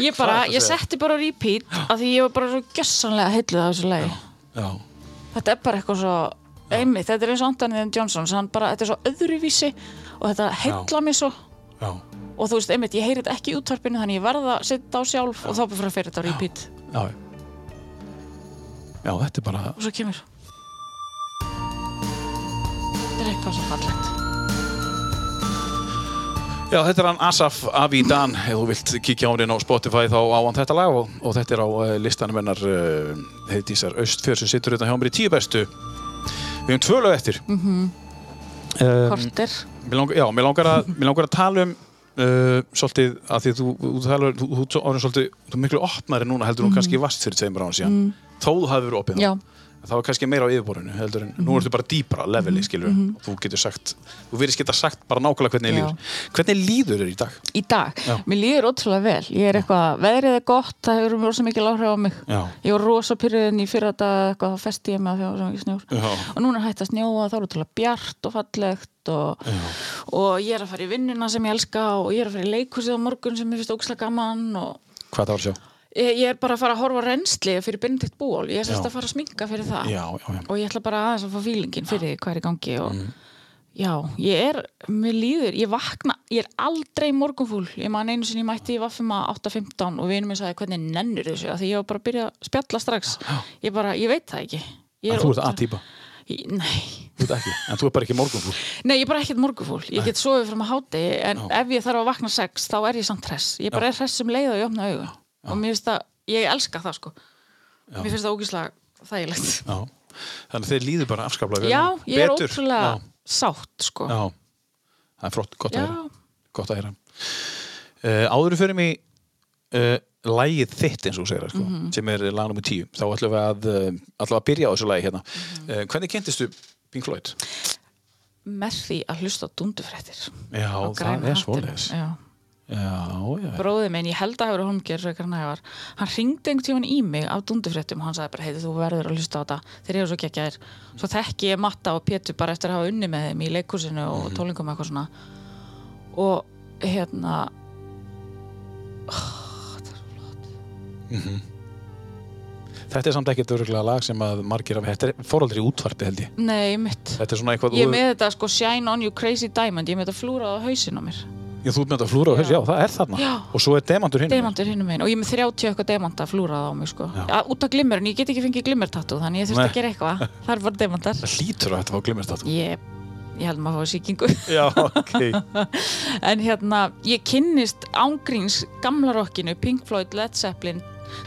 S3: ég bara,
S1: Það er
S3: ég
S1: þetta.
S3: setti bara á repeat af því ég var bara svo gjössanlega heilluð af þessu lagi
S1: já,
S3: þetta er bara eitthvað svo einmitt, þetta er eins og Anthony and Johnson hann bara, þetta er svo öðruvísi og þetta heilla mig svo
S1: já,
S3: og þú veist, einmitt, ég heyri þetta ekki í útvarpinu þannig ég verða að setja á sjálf og þá bara fyrir að fyrir þetta á repeat
S1: já Já, þetta er bara
S3: og svo kemur þetta er eitthvað svo fallegt
S1: Já, þetta er hann Asaf Avidan ef þú vilt kíkja á hann á Spotify þá á hann þetta lag og, og þetta er á eh, listanum hennar uh, heiðdísar Östfjör sem situr utan hjá mér í tíu bestu Við höfum tvö lög eftir mm -hmm.
S3: korter,
S1: mér langar, Já, mér langar, að, mér langar að tala um uh, svolítið að því þú, þú, talar, þú, þú, þú, orðin svolítið, þú er miklu opnari núna heldur hún kannski vast fyrir tveimur án síðan þó þú hafði verið opið þá
S3: já,
S1: það var kannski meira á yfirborðinu heldur en
S3: Mhm.
S1: nú ertu bara dýpra leveli skilur og þú getur sagt, þú verðist geta sagt bara nákvæmlega hvernig þér
S3: Já.
S1: líður hvernig líður þér í dag?
S3: í dag
S1: Já.
S3: mér líður ótrúlega vel, ég er eitthvað veðrið er gott, það hefur mjög mikil áhrif á mig
S1: Já.
S3: ég var rosa pyrriðin í fyrir þetta eitthvað, þá festi ég mig að því að það var svo mikið snjór
S1: Já.
S3: og núna er hægt að snjóa, þá er ótrúlega bjart og fallegt og, og ég er að fara í vinnuna sem ég elska og ég er að fara í leikhúsið á morgun sem ég finnst ókslega gaman og
S1: Hvað það var að sjá?
S3: Ég, ég er bara að fara að horfa á rennsli fyrir Benedikt Búól, ég er sérst
S1: Já.
S3: að fara að sminka fyrir það
S1: Já, já, já.
S3: og Ah. ég ætla bara aðeins að fá fílingin fyrir því hvað er í gangi og
S1: Mm.
S3: já, ég er, mér líður, ég vakna, ég er aldrei morgunfúl, ég man einu sinni ég mætti í vaffima 8.15 og vinur minn sagði hvernig nennur þessu, af því ég var bara að byrja að spjalla strax, ég bara, ég veit það ekki Ég
S1: En
S3: er
S1: þú ert
S3: ótrú-
S1: A-típa,
S3: Ég- Nei,
S1: þú ert ekki, en þú ert bara ekki morgunfúl.
S3: Nei, ég er bara ekkert morgufúl. Ég get sofið fram að hátegi en
S1: Já.
S3: ef ég þarf að vakna sex þá er ég samt hress. Ég bara er hress sem leið og ég opna augun. Og mér finnst það, ég elska það sko. Mér finnst það ógíslega þægilegt.
S1: Já. Þannig að þeir líður bara afskaplega vel.
S3: Já, ég er
S1: Betur.
S3: ótrúlega
S1: Já,
S3: sátt sko.
S1: já. það er flott, gott
S3: Já.
S1: að heyra. Gott að heyra. Uh, áður en við förum í uh, lægið þitt eins og þú segir, það, sko,
S3: Mhm.
S1: sem er lag nummer 10. Þá ætlum við að, uh, ætlum við að byrja á þessu lægi hérna.
S3: Mhm.
S1: Uh, hvernig kynntistu Pink Floyd?
S3: Með því að hlusta á dundufrættir.
S1: Já, það er svoleiðis. Já,
S3: Já.
S1: já, já.
S3: Bróðið minn, ég held að hafa verið holmgjör frekar en hævar. Hann ringdi einhvern tíman í mig af dundufréttum og hann sagði bara, heiti, þú verður að hlusta á þetta þeir eru svo geggjaðir. Svo þekki ég Matta og Pétur bara eftir að hafa unni með þeim í leikúsinu og
S1: Mhm.
S3: mm tólingum eitthvað svona. Og hérna, oh, það er svo flott.
S1: Þetta er samt ekkert öruglega lag sem að margir af þetta er fóraldri útvarpi held ég.
S3: Nei, mitt.
S1: Þetta er svona eitthvað
S3: Ég er með þetta sko Shine on you crazy diamond, ég er með þetta flúrað á hausinn á mér.
S1: Já, þú ert með þetta flúra og haus, já, það er þarna.
S3: Já.
S1: Og svo er demantur hinn.
S3: Demantur hinnum einn og ég er með 30 eitthvað demanta flúrað á mig sko. Ja, út af glimmerun, ég get ekki fengið glimmertattu þannig ég þurfti
S1: Nei.
S3: að gera eitthvað. Þar var demantar.
S1: Það hlýtur að þetta var glimmerstatú.
S3: Ég, ég held maður að fá sýkingu.
S1: Já, ok.
S3: en hérna, ég kynnist ángríns gamla rockinu, Pink Floyd, Led Zeppelin,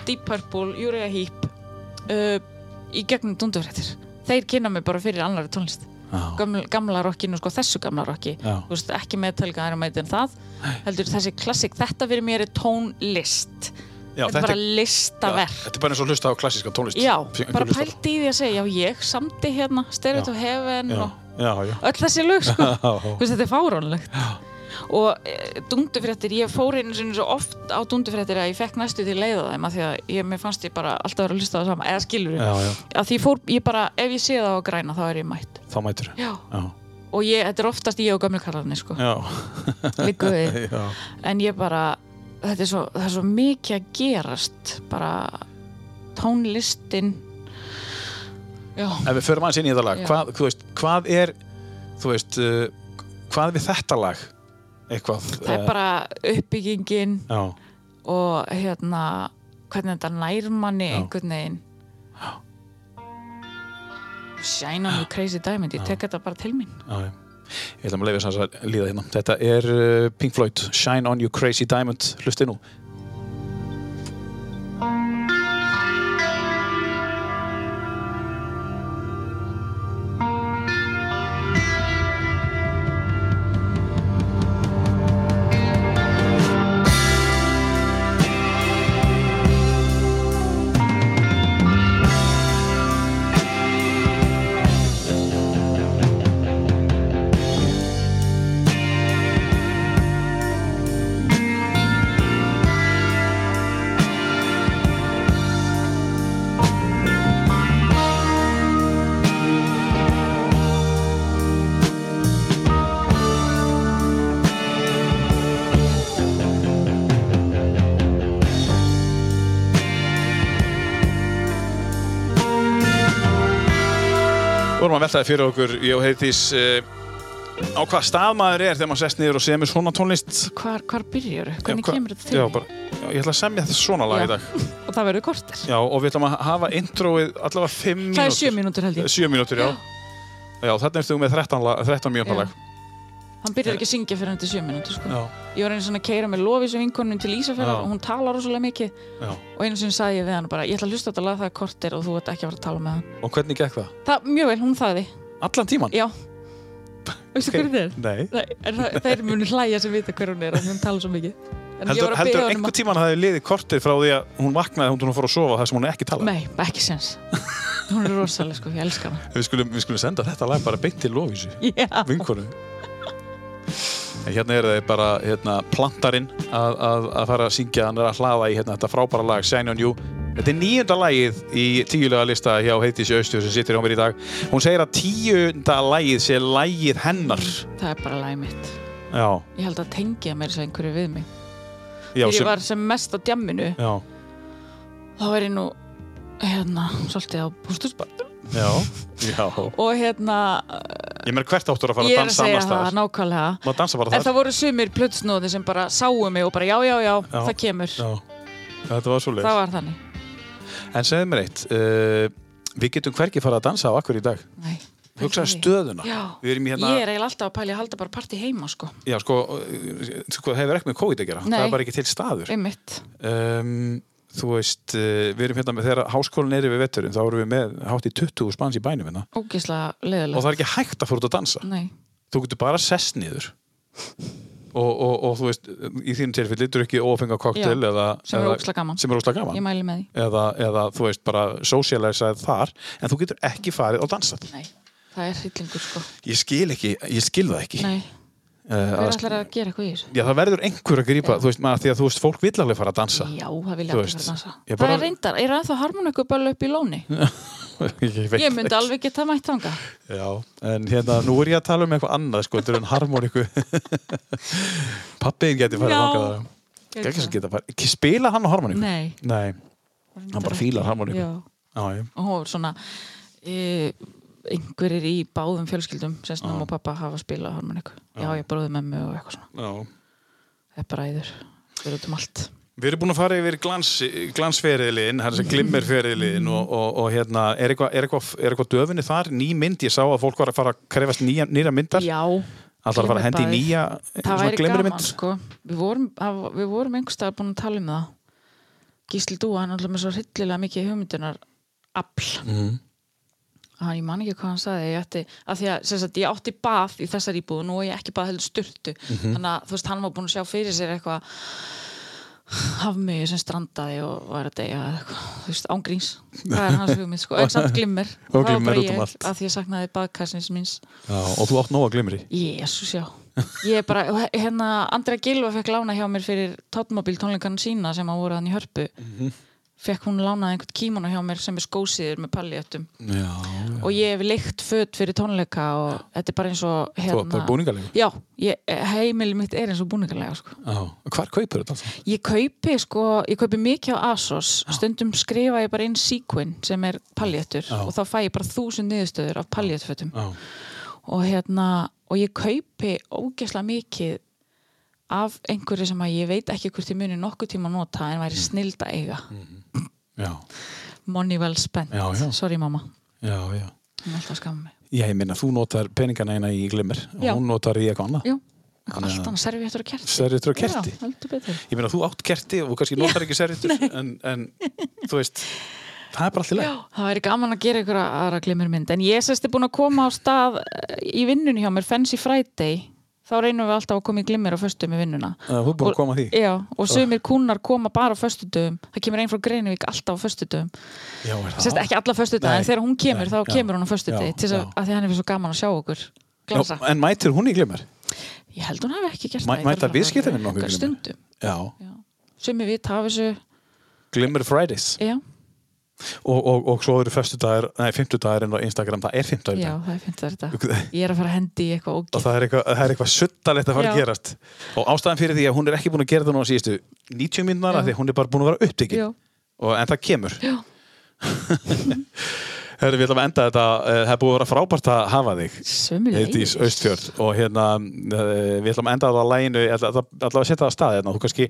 S3: Deep Purple, Uriah Heep uh, í gegnum dundurrættir. Þeir kynna mig bara fyrir annari tónlist.
S1: Já,
S3: Gamla, gamla rockinu, sko þessu gamla rocki.
S1: Já.
S3: Þú veist, ekki Metallica er að mæta en það. Heldur þessi klassik, þetta fyrir mér er tónlist.
S1: já
S3: þetta er bara listaverk.
S1: Þetta er bara eins og hlusta á klassíska tónlist.
S3: Já,
S1: Einhver
S3: bara
S1: hlustar á-
S3: pældi í því að segja, já ég samti hérna, Stereo to Heaven
S1: Já,
S3: og
S1: já, já.
S3: öll þessi lög sko
S1: Já.
S3: Þú veist, þetta er fárónlegt og e, dundufréttir, ég fór einu sinni svo oft á dundufréttir að ég fekk næstu til leiða þeim af því að ég, mér fannst ég bara alltaf vera að hlusta á það sama, eða skilur
S1: Já, já,
S3: að því ég fór, ég bara, ef ég sé það á græna þá er ég mætt
S1: þá mætur
S3: já.
S1: Já,
S3: og ég, þetta er oftast ég og gömlu kallarni sko,
S1: já,
S3: líku við
S1: já.
S3: en ég bara, þetta er svo, það er svo mikið að gerast bara tónlistin já,
S1: Ef við förum aðeins inn í þetta lag,
S3: Já.
S1: hvað, þú veist, hvað er, þú veist, uh, hvað við þetta lag? Eitthvað. eh,
S3: það er bara uppbyggingin
S1: Já,
S3: og hérna hvernig þetta nær manni
S1: Já.
S3: einhvern veginn Shine on you crazy diamond ég tek þetta bara til mín
S1: já, já. Ég ætla að leifa þess að líða hérna. Þetta er uh, Pink Floyd, Shine on you crazy diamond, hlustið nú. Við vorum að veltaði fyrir okkur, ég og Heiðdís, uh, á hvað stað maður er þegar maður sest niður og semur svona tónlist?
S3: hvar, hvar byrjar, hvernig
S1: Já, hva-
S3: kemur þetta til
S1: Já,
S3: mín?
S1: bara, já, ég ætla að semja þetta svona lag
S3: Já.
S1: í dag.
S3: og það verður kortir
S1: Já, og við ætlum að hafa introið allavega 5 mínútur.
S3: það er sjö mínútur held ég
S1: 7 mínútur, já. Já, þarna ertu með 13, lag- 13 mínútur
S3: Já.
S1: lag.
S3: hann byrjar ekki að syngja fyrir hann til sjö mínútur sko.
S1: Já,
S3: ég var einu svona að keira með lofis og vinkonum til Ísafjörðar
S1: Já.
S3: og hún talar rosalega mikið
S1: já.
S3: og einu sinni sagði ég við hann bara ég ætla að hlusta á þetta lag það er kortir og þú ert ekki að fara að tala með hann
S1: Og hvernig gekk það?
S3: það, mjög vel, hún þaði,
S1: Allan tíman?
S3: já veistu hverju þetta er?
S1: Nei.
S3: Nei, en það, þeir munu hlæja sem vita hver hún er og hún tala svo mikið en ég
S1: Heldur,
S3: var að byrja
S1: heldur
S3: honum
S1: einhver tíman að það hefði liðið kortið frá því að hún vaknaði, hún tónum að fara að sofa þar sem hún er ekki talað?
S3: Nei, ekki sens Hún er rosalega sko, ég elska hana
S1: Við skulum, við skulum senda þetta lag bara beint til Lóvísu.
S3: Já,
S1: vinkonu En hérna eru þeir bara hérna, plantarinn að, að, að fara að syngja hann er að hlaða í hérna, þetta frábæra lag Shine on You Þetta er nýjunda lagið í tíulega lista hjá Heitísi Austjó sem situr hjá mér í dag Hún segir að tíunda lagið sé lagið hennar
S3: það er bara lagið mitt
S1: Já,
S3: Ég held að tengja mér svo einhverju við mig
S1: já,
S3: Þegar ég
S1: sem,
S3: var sem mest á djamminu
S1: já,
S3: þá var ég nú hérna, svolítið á bústusbart
S1: já, já
S3: og hérna,
S1: Ég meður hvert áttur að fara
S3: ég
S1: að
S3: er að
S1: dansa
S3: segja
S1: annars
S3: það
S1: staðar
S3: nákvæmlega
S1: Má dansa bara
S3: En
S1: þar
S3: það voru sumir plötsnóði sem bara sáu mig og bara já, já, já,
S1: Já.
S3: það kemur
S1: Já, þetta var svo leið
S3: Það var þannig
S1: En segðu mér eitt uh, Við getum hvergi fara að dansa á akkur í dag
S3: Nei,
S1: Hugsaðu
S3: ekki.
S1: stöðuna
S3: Já,
S1: Við erum í hérna
S3: ég er eiginlega alltaf að pæli að halda bara partí heima sko,
S1: Já, sko, uh, sko það hefur ekki með COVID að gera,
S3: Nei.
S1: það er bara ekki til staður.
S3: einmitt
S1: Um, þú veist, uh, við erum hérna með þegar háskólinn er yfir vetturinn, þá erum við með hátt í 20 spans í bænum hérna
S3: Ógislega
S1: og
S3: leðilegt
S1: það er ekki hægt að fór út að dansa.
S3: Nei,
S1: Þú getur bara sess niður og, og, og þú veist, í þínum tilfelli, þú ekki ófenga koktel
S3: Já,
S1: eða...
S3: sem er
S1: eða-
S3: ógeðslega gaman.
S1: Sem er ókslega
S3: ég
S1: gaman.
S3: mæli með því
S1: Eða, eða þú veist, bara socialisað þar, en þú getur ekki farið og dansað.
S3: Nei, það er hryllingur sko
S1: Ég skil ekki, ég skil það ekki.
S3: Nei,
S1: Uh,
S3: hver
S1: að,
S3: ætlar að gera eitthvað í þessu?
S1: já, það verður einhver að grípa, þú veist, maður, því að þú veist, fólk vill alveg fara að dansa.
S3: Já, það
S1: Þú
S3: vilja allir
S1: veist,
S3: fara að dansa
S1: ég
S3: Það
S1: bara-
S3: er reyndar, er það harmoníku bara upp í lóni?
S1: ég, veit
S3: Ég myndi
S1: ekki.
S3: alveg geta mætt þanga
S1: Já, en hérna, nú er ég að tala um eitthvað annað sko, þetta er enn harmoníku Pappiðin geti farið
S3: Já.
S1: þangað að- Ekki sem geta farið, ekki spila hann á harmoníku
S3: Nei,
S1: Nei,
S3: var
S1: Hann bara
S3: reyndar
S1: fílar
S3: ekki-
S1: harmoníku.
S3: Já.
S1: Já, já.
S3: og hún var svona e, einhverjir í báðum fjölskyldum sérst mamma og pappa hafa spilað harmoniku já, ég bróði með mig og eitthvað svona
S1: Já.
S3: það er bara æður, við erum út um allt
S1: Við erum búin að fara yfir glans, glansferðilinn, hann sem
S3: Mm.
S1: glimmerferðilinn og, og, og hérna, er eitthvað eitthva, eitthva döfinni þar? Ný mynd, ég sá að fólk var að fara að krefast nýja, nýra myndar.
S3: já,
S1: Alltaf að fara að hendi í
S3: glimmerbaðið.
S1: nýja
S3: það
S1: svona
S3: væri
S1: glimmermynd.
S3: gaman sko við vorum, að, við vorum einhverstað búin að tala um það Gísli Dúa, hann er alltaf með svo hryllilega mikið hugmyndunar afl
S1: Mhm.
S3: hann, ég man ekki hvað hann sagði ég ætti, að því að sem sagt, ég átti bað í þessar íbúð og nú er ég ekki bað heldur styrtu
S1: Mhm.
S3: þannig að þú veist, hann var búin að sjá fyrir sér eitthvað hafmygu sem strandaði og var að deyja eða eitthvað, þú veist, ángríns það er hans hugmynd, sko, en samt glimmer
S1: Og
S3: Það var
S1: glimmer
S3: bara
S1: út um
S3: ég,
S1: allt.
S3: að því ég saknaði baðkassins míns
S1: Já, og þú átt nóga glimri.
S3: Jésús, já. Ég er bara, hérna, Andrea Gilva fekk lána hjá mér fyrir Totmobil tónleikan sína sem að voru hann í hörpu.
S1: Mhm.
S3: Fekk hún lánað einhvern kímona hjá mér sem er skósiður með palliöttum.
S1: Já,
S3: Og ég hef leikt föt fyrir tónleika og þetta er bara eins og,
S1: þú
S3: hérna...
S1: átt bara búningalega.
S3: Já, ég, heimili mitt er eins og búningalega, sko.
S1: Já, hvar kaupir þetta alltaf?
S3: Ég kaupi, sko, ég kaupi mikið á ASOS. Stundum skrifa ég bara inn sequin sem er palliöttur
S1: Já.
S3: og þá fæ ég bara þúsund niðurstöður af palliöttfötum
S1: Já,
S3: og hérna og ég kaupi ógeðslega mikið af einhverju sem að ég veit ekki hvort ég muni nokkuð tíma að nota en
S1: Mm.
S3: væri snild að eiga
S1: já,
S3: money well spent,
S1: Já, já.
S3: sorry mamma
S1: já, já.
S3: hún er alltaf að skamma mig
S1: Já, ég minna, þú notar peningana eina í glimmer og
S3: Já.
S1: hún notar í eitthvað annað.
S3: Jú, eitthvað allt annað, serviettur og kerti
S1: Serviettur og kerti?
S3: Já, heldur betur
S1: Ég minna, þú átt kerti og kannski notar ekki serritur, en, en þú veist, það er bara allt í
S3: Já,
S1: leið.
S3: það væri gaman að gera einhverja aðra glimmermynd en ég sérst er búin að koma á stað eh, í vinnunni hjá mér, Fancy Friday þá reynum við alltaf að koma í glimmer á föstum í vinnuna
S1: Já, þú er búin að
S3: Og-
S1: koma að því. Ah.
S3: Já, og sumir kúnar koma bara á föstudöfum það kemur einn frá Greinvík alltaf á föstudöfum
S1: Já, er það?
S3: Sérst ekki alla föstudagi,
S1: Nei.
S3: en þegar hún kemur
S1: Nei,
S3: þá
S1: já.
S3: kemur hún á föstudagi
S1: Já,
S3: til þess að,
S1: já.
S3: að því hann er svo gaman að sjá okkur glansa.
S1: Já, en mætir hún í glimmer?
S3: Ég held hún hafi ekki gert
S1: Mæ-
S3: það.
S1: mæta viðskiptavinir nokkuð
S3: okkur?
S1: glimmer?
S3: Stundum.
S1: Já,
S3: Sumi vit hafa þessu,
S1: Glimmer Fridays
S3: já,
S1: og, og, og svo eru föstudagar, nei, fimmtudagar en á Instagram, það er fimmtudagar í
S3: já,
S1: dag.
S3: það er fint að þetta. Ég er að fara að hendi í eitthvað
S1: og
S3: ógæð.
S1: það er eitthvað, það er eitthvað suttalegt að fara að
S3: Já.
S1: gerast og ástæðan fyrir því að hún er ekki búin að gera það nú á síðustu 90 mínúnar
S3: Já.
S1: af því að hún er bara búin að vera upptekin
S3: Já.
S1: og, en það kemur Herri, við ætlum að enda þetta eh, það er búin að vera frábært að hafa þig
S3: Sumi
S1: Eydís Austfjörð og hérna eh, við ætlum að enda það á læginu allavega að setja það að stað hérna, þú kannski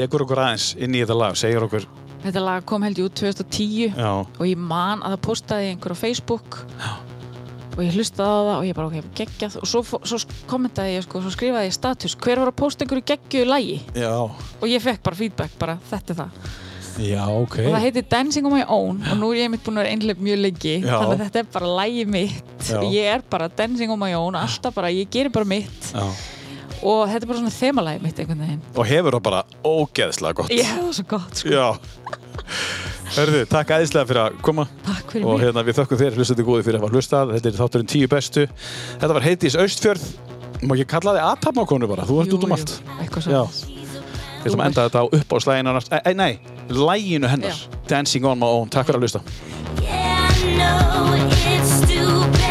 S1: tekur okkur aðeins inn í þetta lag, segir okkur
S3: Þetta lag kom held ég út 2010
S1: já,
S3: og ég man að það postaði einhver á Facebook og ég hlustaði á það og ég bara ok, geggjað og svo, fó- svo kommentaði ég sko, svo skrifaði ég status hver var að posta einhverju geggjuðu lagi
S1: já,
S3: og ég fekk bara feedback bara þetta er það
S1: já, ok
S3: og það heitir Dancing on my own og nú er ég mitt búin að vera einhlepp mjög lengi
S1: Já.
S3: þannig að þetta er bara lægi mitt
S1: Já.
S3: ég er bara Dancing on my own alltaf bara, ég gerir bara mitt
S1: já.
S3: og þetta er bara svona þemalægi mitt einhvern veginn
S1: og hefur það bara ógeðslega gott
S3: ég hef það svo gott sko.
S1: Já Hörðu, takk æðislega fyrir að koma
S3: takk fyrir
S1: og
S3: mig
S1: hérna við þökkum þér hlustandi góði fyrir að hafa hlustað þetta er þátturinn tíu bestu þetta var Heiðdís Austfjörð má ekki kalla þig aðtapnákonu bara, þú ert
S3: Jú,
S1: út um
S3: jú,
S1: allt
S3: eitthvað
S1: Já,
S3: svo
S1: við ætlum að enda þetta á uppáðslæginu hennar, eh, eh, nei, læginu hennar Dancing on my own, takk fyrir að hlusta
S8: Yeah, I know it's stupid.